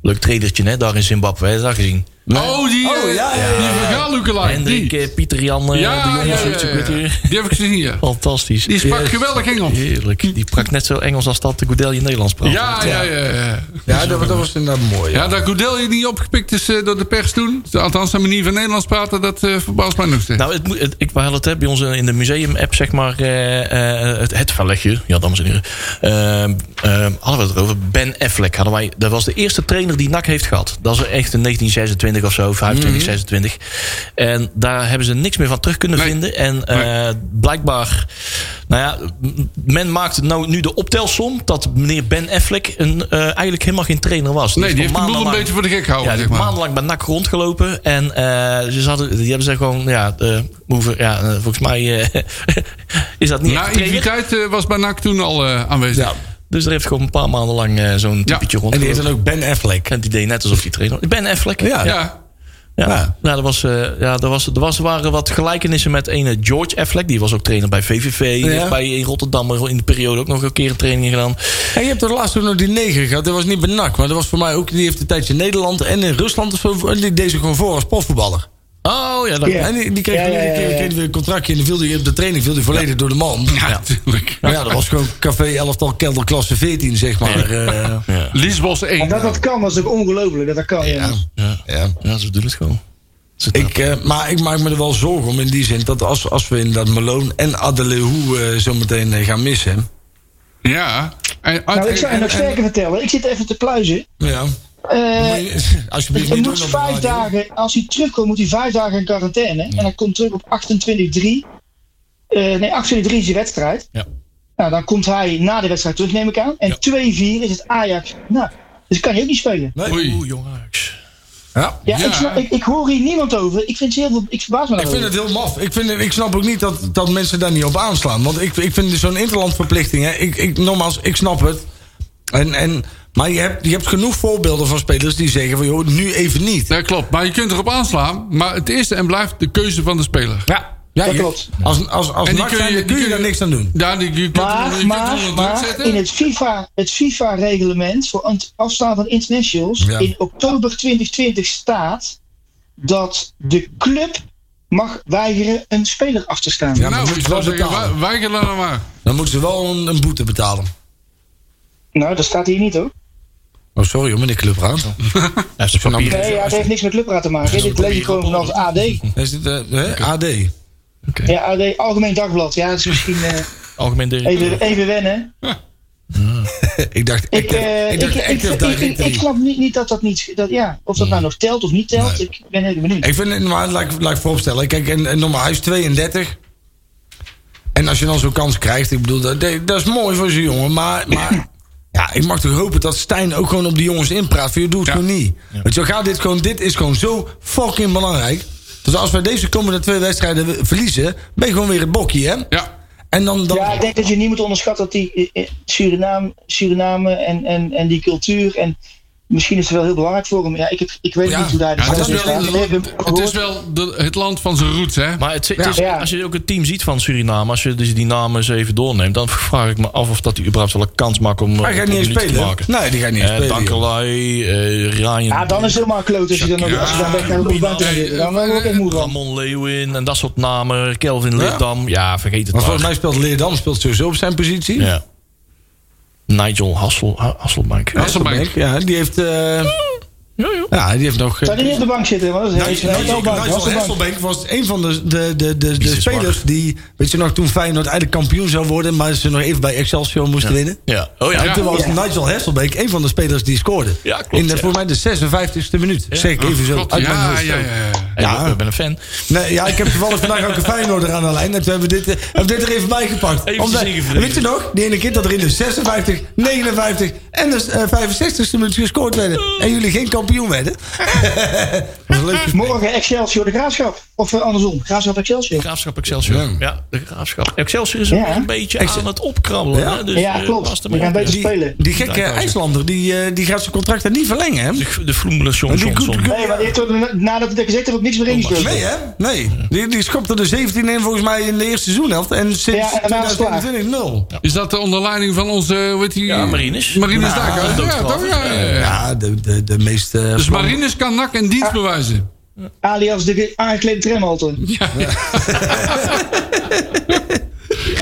S5: leuk tradertje, hè, daar in Zimbabwe. Heb je dat gezien?
S7: Oh, die,
S6: Oh,
S7: eh,
S6: ja, ja, ja,
S7: die
S6: ja.
S7: vergaalloekelijn. Die.
S5: Hendrik,
S7: Ja,
S5: eh, Pieter Jan, eh, de
S7: ja, ja,
S5: jongens.
S7: ja,
S5: weet je, ik weet
S7: ja.
S5: niet.
S7: Die heb ik gezien hier.
S5: Fantastisch.
S7: Die sprak
S5: Yes.
S7: geweldig Engels.
S5: Heerlijk. Die sprak net zo Engels als dat de Goedelje Nederlands praat.
S7: Ja, ja, ja, ja.
S6: Ja, dat, dat was inderdaad mooi.
S7: Ja, dat Goodell niet opgepikt is eh, door de pers toen. Althans, zijn manier van Nederlands praten, dat eh, verbaast mij nog steeds.
S5: Nou, het, moet- het, ik had het hè, bij ons in de museum-app, zeg maar, eh, eh, het, het velletje. Ja, dames en heren. Ehm, ehm, hadden we het erover. Ben Affleck hadden wij. Dat was de eerste trainer die NAC heeft gehad. Dat is echt in 1926, 26 of zo, 25, 26. En daar hebben ze niks meer van terug kunnen
S7: Mhm. Nee.
S5: vinden. En eh, blijkbaar, nou ja, m- men maakt nou nu de optelsom dat meneer Ben Affleck een, eh, eigenlijk helemaal geen trainer was.
S7: Nee,
S5: is
S7: die
S5: al
S7: heeft de boel een
S5: maandenlang-
S7: beetje voor de gek
S5: ja,
S7: gehouden.
S5: die
S7: zeg
S5: heeft
S7: maar.
S5: maandenlang bij NAC rondgelopen. En eh, ze hadden, die hebben ze gewoon, ja, eh, hoeven, ja eh, volgens mij eh, is dat niet echt een trainer.
S7: Naïviteit eh, was bij NAC toen al eh, aanwezig.
S6: Ja.
S5: Dus er heeft gewoon een paar maanden lang eh, zo'n typetje
S6: En die
S5: rondgelopen.
S6: is
S5: En
S6: dan
S5: die,
S6: ook Ben Affleck.
S5: deed net alsof hij trainer was. Ben Affleck.
S6: Ja.
S7: Ja.
S5: Ja,
S6: Ja.
S5: Nou, er, was, eh, ja er, was, er was, waren wat gelijkenissen met ene George Affleck. Die was ook trainer bij VVV. Die
S6: Ja.
S5: heeft bij in Rotterdam in de periode ook nog een keer een training gedaan.
S6: En je hebt er laatst ook nog die neger gehad. Dat was niet benak, maar dat was voor mij ook. Die heeft een tijdje in Nederland en in Rusland. of zo- en Die deed ze gewoon voor als profvoetballer.
S5: Oh ja, dat,
S8: Ja.
S6: En die, die kreeg,
S8: Ja, ja, ja, ja.
S6: die kreeg- kreeg weer een contractje en dan viel die op de training viel die volledig door de man.
S7: Ja, natuurlijk.
S6: Maar ja, dat was gewoon café 11 kelderklasse 14, zeg maar. Eh,
S7: Liesbos 1.
S8: En dat dat kan, was ook ongelooflijk. Dat dat kan, ja.
S6: ja.
S5: ja, ze doen het gewoon.
S6: Ik, eh, maar ik maak me er wel zorgen om in die zin dat als, als we inderdaad Malone en Adeleu eh zo meteen eh, gaan missen.
S7: Ja. En,
S8: Nou, ik zou je nog sterker vertellen. Ik zit even te pluizen.
S6: Ja.
S8: Eh,
S6: Moet je- alsjeblieft
S8: Hij
S6: niet
S8: moet
S6: doen op de
S8: vijf
S6: radio.
S8: dagen, als hij terugkomt, moet hij vijf dagen in quarantaine. En dan komt terug op 28-3. Eh, nee, 28-3 is die wedstrijd.
S5: Ja.
S8: Nou, dan komt hij na de wedstrijd terug, neem ik aan. En 2-4 is het Ajax. Nou, dus kan hij ook niet spelen.
S6: Nee.
S7: Oei.
S5: Oeh, jong Ajax.
S6: Ja.
S8: Ja,
S7: Ja.
S8: Ik, snap- ik, ik hoor hier niemand over. Ik vind het heel veel. Ik verbaas me
S6: Ik vind
S8: daarover.
S6: het heel maf. Ik, vind, ik snap ook niet dat, dat mensen daar niet op aanslaan. Want ik, ik vind zo'n interlandverplichting... Hè, ik, ik, nogmaals, ik snap het. En, en, maar je hebt, je hebt genoeg voorbeelden van spelers die zeggen... van joh, nu even niet.
S7: Dat klopt. Maar je kunt erop aanslaan. Maar het is en blijft de keuze van de speler.
S6: Ja, ja
S8: Dat
S6: je-
S8: klopt.
S6: Als, als, als
S7: En die
S6: NAC zijn,
S7: die
S6: dan kun je daar niks aan doen.
S7: Ja, die, je kunt, er- je
S8: Maar,
S7: kunt er
S8: maar,
S7: onder druk
S8: maar
S7: zetten.
S8: in het FIFA, het FIFA reglement voor ant- afstaan van internationals
S6: Ja.
S8: in oktober 2020 staat dat de club mag weigeren een speler af te staan.
S6: Ja, maar
S7: nou,
S6: dan
S7: ik
S6: moeten ze wel
S7: zou zeggen,
S6: betalen.
S7: wij- weiger dan nou maar.
S6: Dan moeten ze wel een, een boete betalen.
S8: Nou, dat staat hier niet hoor.
S6: Oh, sorry hoor, meneer Clubraad.
S5: Hij heeft zijn papieren.
S8: Nee, ja, dat heeft niks met clubraad te maken. Dit lees ik gewoon vanaf het AD.
S6: Is dit eh, hè? AD?
S8: Ja, AD, Algemeen Dagblad. Ja, dat is misschien eh,
S5: Algemeen directeur.
S8: even, even wennen.
S6: ik dacht...
S8: Ik, eh,
S6: ik dacht
S8: ik, ik,
S6: Active
S8: ik, ik,
S6: Directory.
S8: ik snap niet, niet dat dat niet... Dat, ja, of dat nou nog telt of niet telt,
S6: Nee.
S8: ik ben heel benieuwd.
S6: Ik vind het, maar laat ik, laat ik vooropstellen. Kijk, en, en normaal, hij is 32. En als je dan zo'n kans krijgt, ik bedoel, dat, dat is mooi voor zo'n jongen. Maar, maar ja, ik mag toch hopen dat Stijn ook gewoon op die jongens inpraat. Van, je doet het gewoon niet. Want zo gaat dit gewoon, dit is gewoon zo fucking belangrijk. Dus als wij deze komende twee wedstrijden we- verliezen, ben je gewoon weer het bokje, hè?
S7: Ja.
S6: En dan, dan
S8: Ja, ik denk dat je niet moet onderschatten dat die eh, eh, Suriname, Suriname en, en, en die cultuur. En misschien is het wel heel belangrijk voor hem. Ja, ik, heb, ik weet
S6: Ja,
S8: niet hoe daar de
S7: Ja, het, is
S8: stand
S7: wel,
S8: staat. Ik heb hem
S7: het is
S8: gehoord.
S7: wel de- het land van zijn roots, hè?
S5: Maar het, het is,
S8: Ja.
S5: als je ook het team ziet van Suriname, als je dus die namen eens even doorneemt, dan vraag ik me af of dat die überhaupt wel een kans maakt om
S6: hij
S5: eh,
S6: gaat
S5: om
S6: niet eens
S5: minuten te
S6: spelen.
S5: maken.
S6: Nee, die gaat niet eens
S5: Eh
S6: spelen. joh.
S5: Dankelui, eh, Ryan,
S8: Ja, dan is het helemaal kloot als je dan, ook- als je dan weg naar de bank gaat zitten.
S7: eh,
S8: Dan word ik ook echt moe van.
S5: Ramon Leeuwin en dat soort namen. Kelvin Leerdam. Ja, vergeet het
S6: Maar
S5: maar.
S6: volgens mij speelt Leerdam speelt sowieso op zijn positie.
S5: Ja. Nigel Hassel, Ha- Hasselbank. Ja,
S7: Hasselbank.
S6: Ja, die heeft, eh,
S5: ja.
S6: ja, die heeft nog... eh,
S8: Zou die niet op de bank zitten? Want dat is
S6: Nigel
S8: een hele
S6: Nigel-
S8: bank. Dat is
S6: Nigel
S8: de bank.
S6: Hasselbeek was een van de, de, de, de, de
S5: Jezus,
S6: spelers
S5: wacht.
S6: die, weet je nog, toen Feyenoord eigenlijk kampioen zou worden, maar ze nog even bij Excelsior moesten winnen.
S5: Ja. Oh ja.
S6: En toen was Nigel Hasselbeek een van de spelers die scoorde.
S5: Ja, klopt,
S6: In de,
S5: ja.
S6: voor mij de 56e minuut. Zeg ik even zo.
S7: Klopt,
S6: uit mijn
S7: ja,
S6: hoofd.
S7: ja, ja, ja.
S5: Hey,
S6: ja.
S5: Ik ben een fan.
S6: Nee, ja, ik heb toevallig vandaag ook een Feyenoorder aan de lijn. Dus we hebben dit, eh, hebben dit er even bij gepakt.
S5: Eventjes ingevreven.
S6: weet je nog, die ene keer dat er in de 56, 59 en de eh, 65e minuut gescoord werden. En jullie geen kampioen werden. dat was een leuk gesprek.
S8: Morgen Excelsior de Graafschap. Of eh, andersom, Graafschap Excelsior.
S5: Graafschap Excelsior. Ja,
S6: Ja.
S5: de Graafschap. Excelsior is ook
S8: Ja.
S5: een beetje
S6: Excel-
S5: aan het opkrabbelen.
S6: Ja.
S5: hè? Dus,
S8: Ja,
S5: eh, pas
S8: klopt.
S5: ermee
S8: We gaan
S5: op,
S8: beter
S5: ja.
S8: spelen.
S6: Die gekke IJslander, die, eh, die gaat zijn contract dan niet verlengen, hè?
S5: De, de Vloemelen John
S6: Die goed-
S5: Johnson.
S8: Nee, maar die heeft er- nadat hij dat gezegd heeft, ook niks meer
S7: Oh,
S8: ingespeeld.
S6: Nee, hè? Nee. Die, die schopte er 17 in volgens mij in de eerste seizoenhelft. En sinds
S8: Ja, en daarna was het klaar.
S6: 2021 nul.
S7: Is dat de onderleiding van onze, eh, hoe heet die?
S5: Ja, Marines.
S7: Marines
S5: Ja,
S7: Dijk, hè? Ja,
S5: doodgraver.
S7: toch? Ja, ja, ja.
S6: Ja, de, de, de meest... eh,
S7: Dus Marines kan nak en dienst bewijzen.
S8: Alias de ge- aangeklede tramhalte.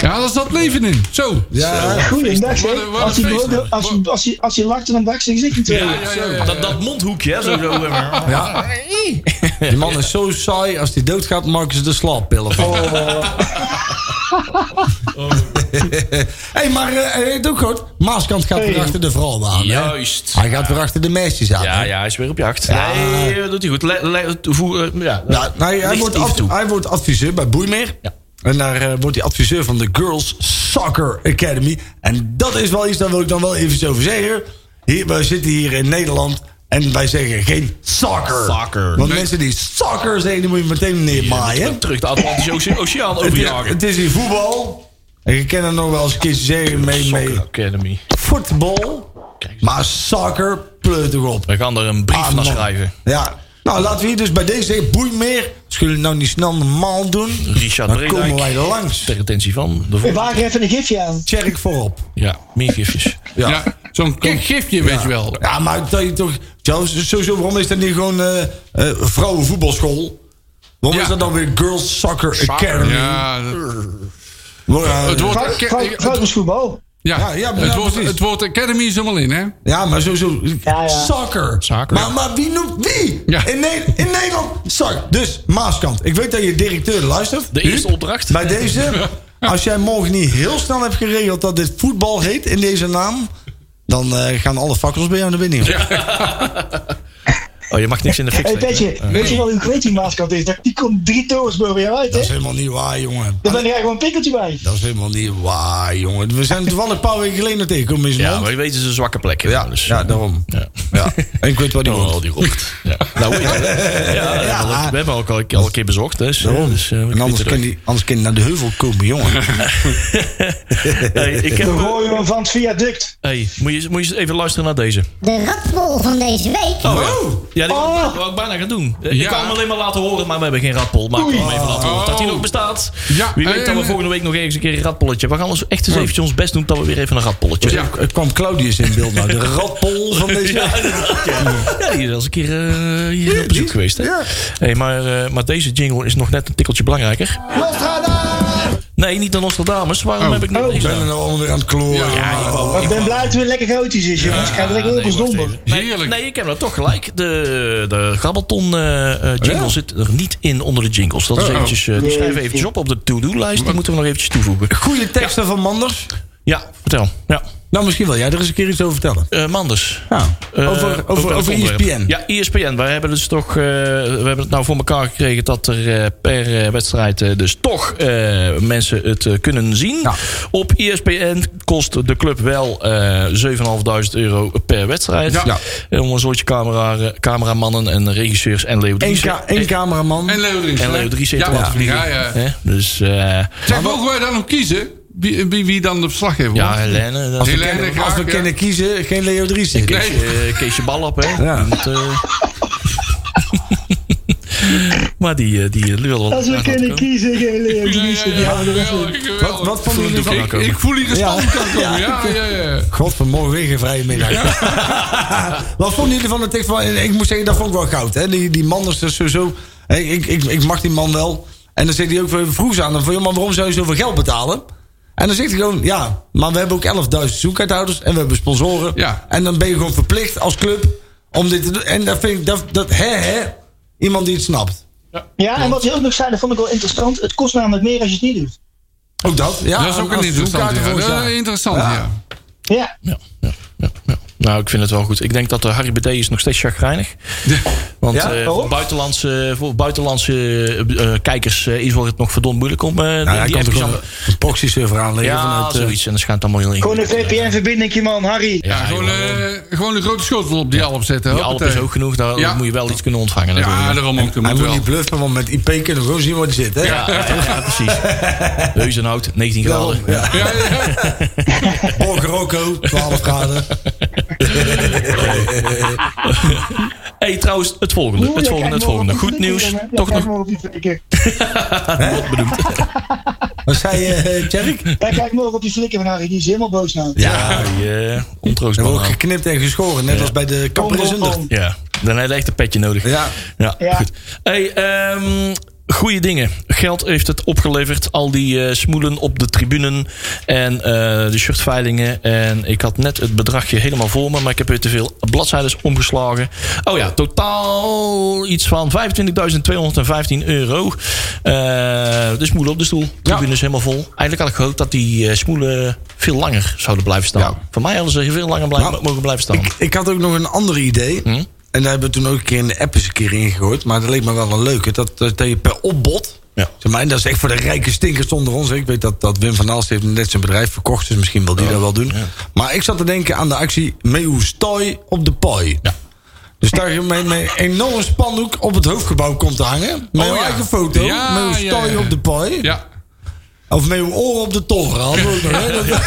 S7: Ja, daar zat leven in. Zo.
S8: eh,
S6: Ja,
S8: Goeiedag,
S7: Wat
S8: zeg.
S7: een- wat
S8: Als
S7: een
S8: hij
S7: feest.
S8: brood- als hij- als hij- als hij lachte, dan brak zijn gezicht in tweeën.
S7: Ja, ja, ja.
S5: Dat, dat mondhoekje, hè? Zo, zo, eh,
S6: ja. Die man is zo saai. Als hij doodgaat, maken ze de slaappillen van.
S8: Oh.
S6: hey, maar eh, hij heeft ook goed. Maaskant gaat weer achter de vrouwen aan. hè?
S5: Juist.
S6: Hij gaat weer achter de meisjes aan.
S5: Ja,
S6: hè?
S5: ja, hij is weer op jacht. Nee, dat doet hij goed. Le- le- voer- eh, ja,
S6: Nou, nou, hij,
S5: licht
S6: wordt
S5: even
S6: ad-
S5: toe.
S6: hij wordt adviseur bij Boeimeer.
S5: Ja.
S6: En daar eh, wordt hij adviseur van de Girls Soccer Academy. En dat is wel iets, daar wil ik dan wel even iets over zeggen. Hier, wij zitten hier in Nederland en wij zeggen geen soccer.
S5: Soccer.
S6: Want mensen die soccer zeggen, die moet je meteen neermaaien. hè?
S5: Terug de Atlantische Oce- Oceaan
S6: Het is,
S5: overjagen.
S6: het is hier voetbal. En je kan er nog wel eens een keertje zeggen mee, mee
S5: Soccer Academy.
S6: voetbal. Maar soccer, pleut toch op.
S5: We gaan er een brief
S6: Ah,
S5: naar
S6: man.
S5: schrijven.
S6: Ja. Nou, laten we hier dus bij deze zeggen, boei meer. Als jullie het nou niet snel normaal doen,
S5: Richard
S6: dan
S5: Bredijk.
S6: komen wij er langs.
S5: Ter attentie van de
S8: We
S5: volgende.
S8: waren even een gifje aan.
S6: Check voorop.
S5: Ja, meer gifjes.
S7: Ja. Zo'n kik gifje, weet je wel.
S6: Ja, maar dat je toch... Zelfs, sowieso, waarom is dat niet gewoon eh eh vrouwenvoetbalschool? Waarom
S7: Ja.
S6: is dat dan weer Girls Soccer, Academy?
S7: Ja, dat-
S6: Waar- eh,
S7: het wordt...
S8: Vrouw-
S7: acca-
S8: vrouw- Vrouwensvoetbal.
S7: Ja,
S6: Ja, ja,
S7: het,
S6: ja,
S7: woord,
S6: precies.
S7: het woord Academy is helemaal in, hè?
S6: Ja, maar sowieso.
S8: Ja, ja.
S6: Soccer.
S5: Soccer.
S6: Maar, maar wie noemt wie?
S7: Ja.
S6: In, Ne- in Nederland. Soccer. Dus Maaskant. Ik weet dat je directeur luistert.
S5: De
S6: Huub,
S5: eerste opdracht.
S6: Bij deze. Als jij morgen niet heel snel hebt geregeld dat dit voetbal heet in deze naam. Dan eh, gaan alle fakkels bij jou naar binnen. joh.
S5: Oh, je mag niks in de fik
S8: Hey,
S5: steken. Eh,
S8: Petje, weet je wel hoe weet die maaskant is? Die komt drie torens boven jou uit,
S6: Dat is
S8: hè?
S6: helemaal niet waar, jongen.
S8: Dan ben jij gewoon een pikkeltje bij.
S6: Dat is helemaal niet waar, jongen. We zijn toevallig een paar weken geleden tegengekomen in zijn
S5: Ja,
S6: mond.
S5: maar je weet, het is een zwakke plek. hè,
S6: Ja,
S5: dus,
S6: ja, daarom.
S5: Ja.
S6: Ja. En ik weet waar die
S5: Oh, al
S6: woont.
S5: die rocht. Ja. Nou, weet je, hè? ja, we hebben al- we hebben ook al, al een keer bezocht. Dus, ja, dus, eh, we
S6: En anders
S5: weten
S6: kan,
S5: het ook.
S6: die, anders kan die naar de heuvel komen, jongen.
S5: Hey, ik heb,
S8: Dan gooien we hem van het viaduct.
S5: hey, moet, je, moet je eens even luisteren naar deze. Oh,
S9: De ratbol van deze week.
S5: Ja, die wou ik- wou ik bijna gaan doen. Eh, Ik
S7: Oh. Ja.
S5: kan hem alleen maar laten horen, maar we hebben geen radpol. Maar ik kan hem even laten horen dat hij nog bestaat.
S7: Oh. Ja,
S5: Wie weet dat we
S7: en-
S5: volgende week nog ergens een keer een radpolletje. We gaan ons echt eens eventjes ons best doen dat we weer even een radpolletje
S7: Ja.
S6: Er kwam Claudius in beeld, nou. De ratpol van deze...
S5: Ja, inderdaad, ja. ja, die is al eens een keer eh, hier op bezoek geweest. Hè?
S6: Ja.
S5: Hey, maar, eh, maar deze jingle is nog net een tikkeltje belangrijker. Nee, niet aan Nostradamus. Waarom
S7: Oh.
S5: heb ik niet
S8: Oh.
S5: deze?
S6: Ben er nou allemaal weer aan het kloren.
S7: Ja, ik
S8: Maar Ik ben blij dat het weer lekker gotisch is, jongens. Ik ga er lekker op
S5: Oh, nee,
S8: ons
S5: wacht
S8: donder.
S5: even. Nee,
S7: Heerlijk.
S5: Nee, ik heb dat toch gelijk. De, de Grabbelton eh, eh, jingle
S6: Ja?
S5: zit er niet in onder de jingles. Dat is
S7: Oh, oh.
S5: eventjes, eh, die schrijven we eventjes op op de to-do-lijst. Die moeten we nog eventjes toevoegen.
S6: Goede teksten van Manders.
S5: Ja, vertel. Ja.
S6: Nou, misschien wil jij er eens een keer iets over vertellen.
S5: Eh, Manders.
S6: Ja.
S5: Eh,
S6: Nou, over over,
S5: dat
S6: over E
S5: onderwerp.
S6: ESPN.
S5: Ja, ESPN. Wij hebben dus toch, eh, we hebben het nou voor elkaar gekregen dat er eh, per eh, wedstrijd eh, dus toch eh, mensen het eh, kunnen zien.
S6: Ja.
S5: Op E ESPN kost de club wel eh 7.500 euro per wedstrijd.
S7: Ja. Ja.
S5: Eh, om een soortje camera, cameramannen en regisseurs en Leo
S6: Eén,
S5: Driessen.
S6: ka- één cameraman.
S7: En Leo Dries.
S5: En Leo Driessen heeft er
S7: ja,
S5: laten vliegen.
S7: Ja, ja.
S5: Hè? Dus eh,
S7: Zeg, mogen wij dan ook kiezen wie, wie, wie dan de verslaggever
S5: ja,
S7: wordt?
S5: Helene. eh, Dat
S7: Heel
S5: is
S7: erg.
S6: En
S7: graag,
S6: Als we
S7: ja.
S6: kunnen kiezen, geen Leo Driessen.
S7: Nee.
S5: Keesje, eh, Keesje bal op, hè?
S6: Ja.
S5: Die moet, eh, maar die, eh, die eh, wil wel.
S8: Als
S5: graag
S8: we
S5: laten
S8: kunnen
S5: komen.
S8: kiezen, geen Leo
S7: Ja, ja,
S8: Driessen.
S7: ja,
S8: Ja,
S7: geweldig,
S8: dat is-
S7: geweldig.
S6: Wat, wat vonden jullie
S5: doek
S6: van...
S5: aan.
S7: Ik, ik voel hier een
S6: Ja.
S7: stand aan komen. Ja, ja, ja.
S6: God, vanmorgen weer geen vrije middag. wat vonden jullie van de tekst van... Ik moet zeggen, dat vond ik wel goud. Hè? Die, die Manders is sowieso... hè, Ik, ik, ik mag die man wel. En dan zegt hij ook even vroeg aan hem van... joh, Maar waarom zou je zoveel geld betalen? En dan zegt hij gewoon... Ja, maar we hebben ook 11.000 zoekhouders. En we hebben sponsoren.
S7: Ja.
S6: En dan ben je gewoon verplicht als club... Om dit te doen. En dat vind ik... Dat, dat, hè, hè, iemand die het snapt.
S8: Ja, en wat hij ook nog zei, dat vond ik wel interessant. Het kost namelijk meer als je het niet doet.
S6: Ook dat. Ja,
S7: Dat is ook een
S6: als
S7: interessant.
S6: zoekhouders
S7: Ja.
S6: voor
S7: Dat
S6: ons,
S7: is
S6: ja.
S7: Interessant, ja.
S8: Ja,
S5: Ja, ja, ja, ja. Nou, ik vind het wel goed. Ik denk dat de Harry Bede is nog steeds chagrijnig. Want
S6: Ja,
S5: eh, voor
S6: waarom?
S5: buitenlandse, voor buitenlandse eh, eh, kijkers eh, is wel het nog verdomd moeilijk om eh,
S6: Nou, hij
S5: die
S6: kan
S5: appjes
S6: toch gewoon
S5: aan-
S6: een proxy-server aanleggen
S5: Ja,
S6: vanuit... eh,
S5: zoiets. En dat schijnt dan miljoen in.
S8: gewoon een VPN-verbindingje, man, Harry.
S7: Ja, gewoon, eh, gewoon een grote schotel op die alp zetten.
S5: Die Alp is
S7: hoppatee.
S5: ook genoeg. Daar
S7: Ja.
S5: moet je wel iets kunnen ontvangen.
S7: Ja,
S5: natuurlijk.
S7: daarom ook. Dat
S6: Hij
S7: moet
S6: moet
S7: wel.
S6: niet bluffen, want met IP kunnen we gewoon zien waar hij zit. Hè?
S5: Ja, ja, ja, precies. Heuzenhout, 19
S6: Daarom,
S5: graden.
S6: ja.
S7: Ja, ja.
S6: Borg Rocco, 12 graden.
S5: hey, trouwens, het volgende. Het volgende, het volgende. Goed nieuws. Toch nog
S8: Hij
S6: Wat zei je, Tjerk? We
S8: kijkt morgen op die flikker van Harry, die is helemaal boos nou.
S5: Ja, je ontroost
S6: hebben ook
S5: maar.
S6: geknipt en geschoren, net als bij de kapper in Zundert.
S5: Ja, dan heb je echt een petje nodig.
S6: Ja.
S5: ja,
S8: Ja.
S5: goed. Hey, ehm, goede dingen. Geld heeft het opgeleverd. Al die eh, smoelen op de tribunen. En eh, de shirtveilingen. En ik had net het bedragje helemaal voor me. Maar ik heb weer te veel bladzijden omgeslagen. Oh ja, totaal iets van 25.215 euro. Eh de smoelen op de stoel. De tribune is helemaal vol. Eigenlijk had ik gehoopt dat die eh, smoelen veel langer zouden blijven staan. Voor mij hadden ze veel langer blijven,
S6: Nou,
S5: mogen blijven staan.
S6: Ik, ik had ook nog een ander
S7: Hm?
S6: idee. En daar hebben we toen ook een keer in de app eens een keer ingegooid. Maar dat leek me wel een leuke. Dat, eh, dat dat je per opbod.
S5: Ja.
S6: Zeg maar, en dat is echt voor de rijke stinkers onder ons. Ik weet dat, dat Wim van Aalst heeft net zijn bedrijf verkocht. Dus misschien wil die dat wel doen. Maar ik zat te denken aan de actie Meeuw Stooi op de Pooi.
S5: Ja.
S6: Dus daar je met een enorm spandoek op het hoofdgebouw komt te hangen. Met
S7: Oh,
S6: een
S7: ja.
S6: eigen foto.
S7: Ja,
S6: Meeuw
S7: ja,
S6: Stooi
S7: ja.
S6: op de Pooi.
S7: Ja.
S6: Of Meeuw Oor op de Toren. Hadden we ook nog, hè? Dat-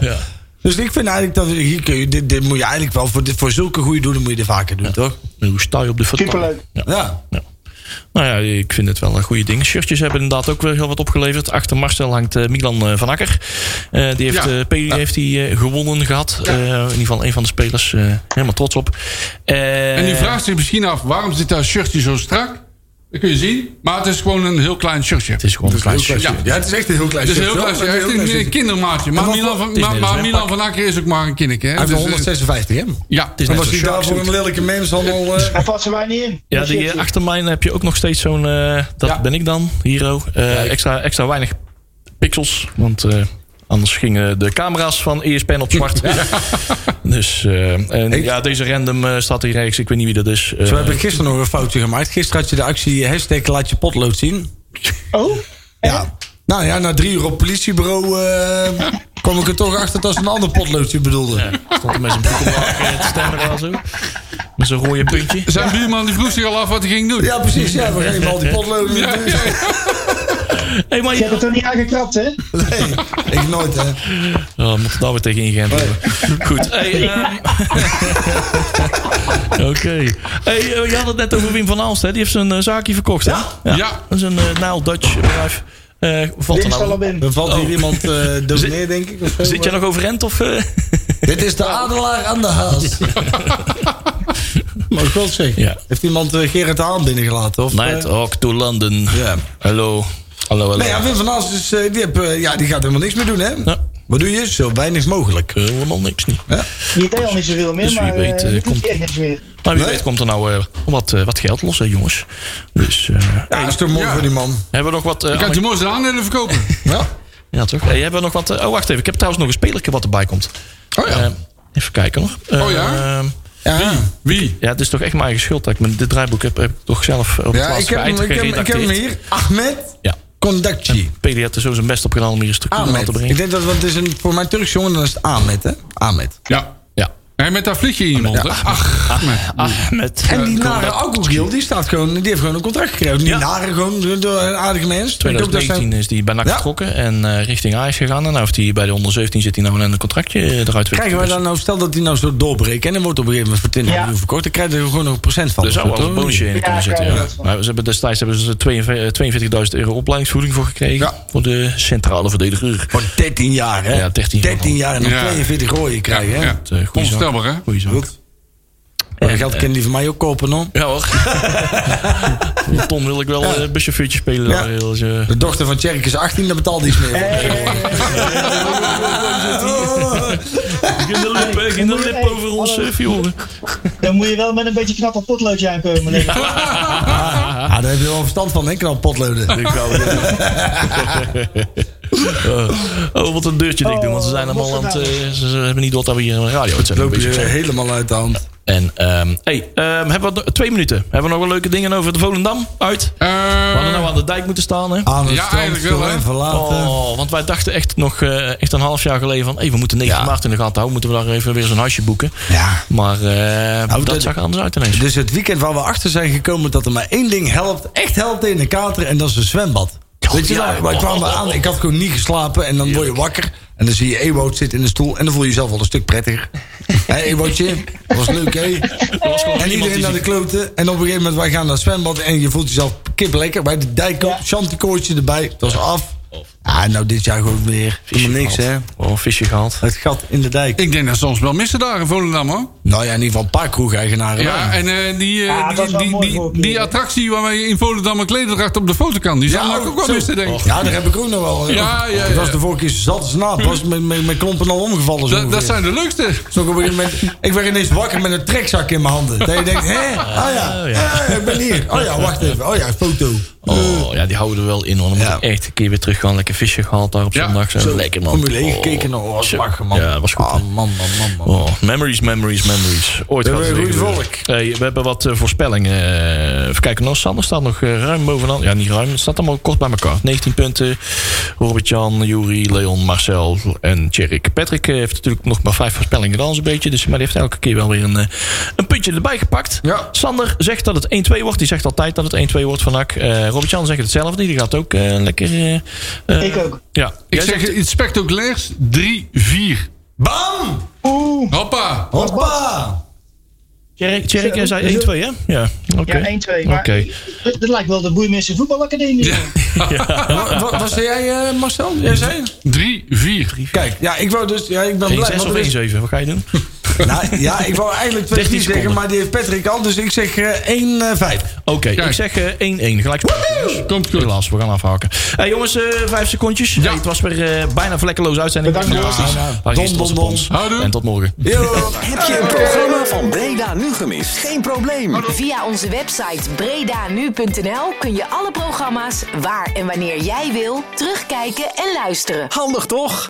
S5: Ja.
S6: Dus ik vind eigenlijk dat we- hier kun je, dit, dit moet je eigenlijk wel voor, dit, voor zulke goede doelen moet je dit vaker doen, toch?
S5: Eh, Hoe sta je op de vertaling?
S8: Superleuk.
S5: Ja.
S6: Ja.
S5: Ja. Nou ja, ik vind het wel een goede ding. Shirtjes hebben inderdaad ook wel heel wat opgeleverd. Achter Marcel hangt eh, Milan eh, van Akker. Eh, die heeft,
S7: Ja.
S5: eh, P- heeft die, eh, gewonnen gehad. Eh, in ieder geval een van de spelers. eh, helemaal trots op. Eh,
S7: En u vraagt zich misschien af, waarom zit dat shirtje zo strak? Dat kun je zien. Maar het is gewoon een heel klein shirtje.
S5: Het is gewoon een klein
S6: Heel klein
S5: shirtje.
S6: shirtje. Ja, het is echt een heel klein
S7: Het is een heel
S6: shirtje, hoor.
S7: klein shirtje.
S6: Een
S7: Echt
S6: heel
S7: een,
S6: klein
S7: een kindermaatje. Maar
S6: Maar
S5: het
S7: Milan
S5: is
S7: van,
S5: net
S7: maar,
S5: als
S7: maar
S5: een
S7: Milan
S5: pak.
S7: van Akker is ook maar een kinderke. hè?
S6: Hij heeft
S7: Dus,
S6: een
S7: eh,
S6: 156 hè?
S7: Ja.
S5: is
S6: En
S5: net
S6: als
S5: zo'n
S6: je daarvoor een lelijke mens al... eh,
S8: Daar passen wij niet in.
S5: Ja,
S8: Dat
S5: die,
S8: shirtje.
S5: eh, achter mij heb je ook nog steeds zo'n... eh, dat
S7: Ja.
S5: ben ik dan, Hero. Eh, extra, extra weinig pixels. Want eh, anders gingen de camera's van E ESPN op zwart. Dus eh, en,
S6: Ik-
S5: ja, deze random eh, staat hier rechts. Ik weet niet wie dat is. Eh,
S6: Zo heb ik gisteren nog een foutje gemaakt. Gisteren had je de actie eh, hashtag laat je potlood zien.
S8: Oh,
S6: Ja. Nou ja, na drie uur op het politiebureau eh, kwam ik er toch achter dat ze een ander potloodje bedoelde.
S5: Stond er met zijn broek omlaag eh, te stemmen wel zo. Met zo'n rode puntje.
S7: Zijn buurman die vroeg zich al af wat hij ging doen.
S6: Ja, precies. Ja, we geven al die potloden.
S7: Ja, ja, ja.
S5: Hé, maar
S8: je hebt het
S5: je...
S8: er niet aangekrapt, hè?
S6: Nee, ik nooit hè.
S5: Oh, moet er nou weer tegen ingent worden. Goed. Hey, ehm, Oké. Hey, eh, je had het net over Wim van Aalst, hè? Die heeft zijn eh, zaakje verkocht, hè? Ja.
S7: Ja.
S5: Dat is een eh Nile Dutch bedrijf. Eh, valt er
S8: Wim
S5: nou...
S8: Salabim.
S6: Er valt hier iemand eh dood neer, denk ik. Of zo.
S5: Zit jij nog overend of... eh?
S6: Dit is de adelaar aan de haas. Maar ik wil het zeggen.
S5: Ja.
S6: Heeft iemand eh, Gerrit de Haan binnengelaten? Of, eh,
S5: Night Hawk to London.
S6: Ja.
S5: Hallo. Hallo, hallo.
S6: Nee, ja, Wim van Aals is, eh, die, heb, eh, ja, die gaat helemaal niks meer doen, hè?
S5: Ja.
S6: Wat doe je? Zo weinig mogelijk.
S5: Helemaal niks niet.
S8: Die deed al niet zoveel meer,
S5: Dus wie
S8: maar
S5: weet, eh,
S8: eh, doet
S5: komt-
S8: hij echt niks meer.
S5: Maar wie
S6: Nee?
S5: weet komt er nou eh, wat, eh, wat geld los, hè, jongens. Dus... eh,
S6: Ja, dat is toch mooi
S7: Ja.
S6: voor die man.
S5: Hebben we nog wat... eh,
S7: Ik had je mooi zijn aandelen verkopen.
S6: Ja.
S5: Ja, toch? Hey, hebben we nog wat... eh, oh, wacht even. Ik heb trouwens nog een spelertje wat erbij komt.
S6: Oh ja.
S5: Eh, even kijken nog.
S7: Oh ja?
S5: Eh,
S6: ja.
S7: Wie?
S5: ja, het is toch echt mijn eigen schuld. Dat ik mijn, dit draaiboek heb, heb ik toch zelf op
S6: Ja,
S5: plaats
S6: ik heb, hem, ik, heb, ik heb hem hier. Ahmed
S5: Ja.
S6: Kondakci.
S5: PD heeft er zo zijn best op gedaan om hier een structuur aan
S6: Ahmed.
S5: te
S6: Ik
S5: brengen.
S6: denk dat want het is een, voor mijn Turks jongen dan is het Ahmed, hè? Ahmed.
S7: Ja.
S5: Ja.
S7: Hij met dat vliegje in je mond. hè? Ach,
S5: Ah, met...
S6: En die nare Alkogiel, die, staat gewoon, die heeft gewoon een contract gekregen. Die
S5: Ja.
S6: nare, gewoon een een aardige mens. Ik hoop dat zijn-
S5: 2019 is die bij NAC
S6: Ja.
S5: vertrokken en eh, richting Ajax gegaan. En nou heeft hij bij de onder 17 zit hij nou een contractje eh, eruit. weer.
S6: Krijgen wij dan nou, stel dat die nou zo doorbreken en dan wordt op een gegeven moment voor 20
S8: Ja.
S6: miljoen verkocht, dan krijg je er gewoon nog een procent van.
S5: Er Dus zou
S6: of zo,
S5: wel een
S6: toch?
S5: bonusje in
S8: Ja,
S5: kunnen zitten.
S8: kan
S5: Ja.
S8: dat wel.
S5: Maar ze hebben destijds hebben ze 42 42.000 euro opleidingsvoeding voor gekregen.
S6: Ja.
S5: Voor de centrale verdediger.
S6: Voor 13 jaar, hè?
S5: Ja, 13 jaar.
S6: 13 jaar en dan
S7: Ja.
S6: 42 rooien krijgen, hè?
S7: ja.
S5: Eh, goeie zaak.
S7: Onvoorstelbaar, hè?
S5: Goeie zaak.
S6: Goed. Maar dat Eh, geld kan die van mij ook kopen, hoor.
S5: Ja hoor. Voor een ton wil ik wel
S6: Ja.
S5: eh, buschauffeurtje spelen.
S6: Ja.
S5: daar, als eh. je-
S6: De dochter van Tjerk is 18, daar betaalt iets meer.
S5: Geen de lip, eh, geen de lip over ons, eh, joh.
S8: Dan moet je wel met een beetje knapper potloodje aankomen. denk ik.
S6: Ah, daar heb je wel verstand van, hè? Knap potloden.
S5: Oh, wat een deurtje dik doen. Want ze zijn
S8: Oh,
S5: allemaal aan het... eh,
S8: Rotterdam.
S5: ze, ze hebben niet door dat we hier een radio uitzending
S6: Loop je
S5: bezig zijn.
S6: helemaal uit de hand.
S5: En, ehm hey, ehm, hebben we nog- twee minuten. Hebben we nog wel leuke dingen over de Volendam uit?
S7: Eh,
S5: We hadden nou aan de dijk moeten staan, hè?
S6: Aan het
S7: Ja,
S6: strand,
S7: eigenlijk wel,
S6: veel
S7: hè?
S6: en verlaten.
S5: Oh, want wij dachten echt nog eh, echt een half jaar geleden van... Hey, we moeten 9 maart in de gaten houden. Moeten we daar even weer zo'n huisje boeken.
S6: Ja. Nou,
S5: Maar eh, dat,
S6: dat-
S5: zag er anders uit ineens.
S6: Dus het weekend waar we achter zijn gekomen dat er maar één ding helpt, echt helpt in de kater, en dat is een zwembad. Weet je
S5: ja.
S6: wel, wij kwamen aan, ik had gewoon niet geslapen en dan word je wakker. En dan zie je Ewout zitten in de stoel en dan voel je jezelf al een stuk prettiger. Hé Ewoutje, dat was leuk hè. En iedereen naar de kloten en op een gegeven moment wij gaan naar het zwembad en je voelt jezelf kip lekker. Bij de dijk op,
S8: Ja.
S6: shantykoortje erbij, het was af. Ah, nou dit jaar gewoon weer. Helemaal niks hè.
S5: Oh, een visje gehaald.
S6: Het gat in de dijk.
S7: Ik denk dat ze ons wel missen daar in Volendam, hoor.
S6: Nou ja, in ieder geval een paar kroegeigenaren.
S7: Ja, en eh, die, eh,
S8: Ja, dat
S7: die,
S8: is wel
S7: die,
S8: mooi
S7: die-
S8: voorbeeld,
S7: die
S8: ja.
S7: attractie waarmee je in Volendam een klederdracht op de foto kan, die zal ik ook wel missen, denk ik.
S6: oh, Ja, daar heb ik ook nog wel.
S7: Ja, ja,
S6: Dat was
S7: ja.
S6: de vorige keer zat snap. Was met, met, met klompen al omgevallen. Zo
S7: Dat, dat
S6: ongeveer.
S7: zijn de leukste.
S6: Zo op een gegeven moment- ik werd ineens wakker met een trekzak in mijn handen. Dat je denkt, hè? Oh ja,
S5: Oh ja.
S6: hè, ik ben hier. Oh ja, wacht even. Oh ja, foto.
S5: Oh, ja, die houden we wel in, hoor. Dan
S6: Ja.
S5: moet ik echt een keer weer terug gaan. Lekker visje gehaald daar op
S7: Ja,
S5: zondag. Zo,
S6: Zo,
S5: lekker, man.
S6: Formule 1
S5: Oh,
S6: gekeken. Oh, was
S5: zo.
S6: lachen, man.
S5: Ja, was goed.
S6: Ah,
S5: hè.
S6: man, man, man, man.
S5: Oh, memories, memories, memories. Ooit
S6: We
S5: gaat het
S6: hebben
S5: weer
S6: een goed
S5: gebeuren. Hey, we hebben wat eh, voorspellingen. Eh, even kijken, nou, Sander staat nog eh, ruim bovenaan. Ja, niet ruim. Het staat allemaal kort bij elkaar. 19 punten. Robert-Jan, Juri, Leon, Marcel en Tjerk. Patrick eh, heeft natuurlijk nog maar vijf voorspellingen gedaan, zo'n beetje. Dus, maar die heeft elke keer wel weer een, eh, een puntje erbij gepakt.
S6: Ja.
S5: Sander zegt dat het 1-2 wordt. Die zegt altijd dat het 1-2 wordt van Ak. Eh Robert-Jan zegt hetzelfde. Die gaat ook eh, lekker... eh, eh,
S8: Ik ook.
S5: Ja.
S7: Ik
S5: Jij
S7: zeg eh, iets spectaculairs, 3-4.
S6: Bam!
S8: Oeh,
S7: Hoppa!
S6: Hoppa!
S5: Tjerk, Tjerk, jij zei 1-2, hè? Ja, oké.
S8: ja, 1-2. Maar
S5: Oké.
S8: dat, dat lijkt wel de Boeimeerse voetbalacademie.
S6: Wat, wat, wat zei jij, eh, Marcel? Jij zei?
S7: 3-4.
S6: Kijk, ja, ik wou dus... Ja, ik ben blij.
S5: 1-6
S6: want
S5: of
S6: er is-
S5: 1-7, wat ga je doen?
S6: Nou, ja, ik wou eigenlijk 2
S5: 13
S6: zeggen,
S5: seconden.
S6: maar die heeft Patrick al. Dus ik zeg eh, 1-5.
S5: Oké,
S7: Kijk.
S5: ik zeg eh, 1-1. Gelijk.
S7: Komt goed.
S5: Helaas, we gaan afhaken. Hey, jongens, eh, vijf secondjes. Hey, het was weer eh, bijna vlekkeloos uitzending.
S8: Bedankt,
S5: Fantastisch.
S6: jongens. Ja, nou,
S5: Waar is
S6: don,
S5: onze
S6: don,
S5: pons?
S7: don. Houdoe.
S5: En tot morgen.
S6: Yo!
S2: Heb je een programma van Breda nu gemist? Geen probleem.
S1: Via onze website bredanu.nl kun je alle programma's waar en wanneer jij wil terugkijken en luisteren.
S2: Handig toch?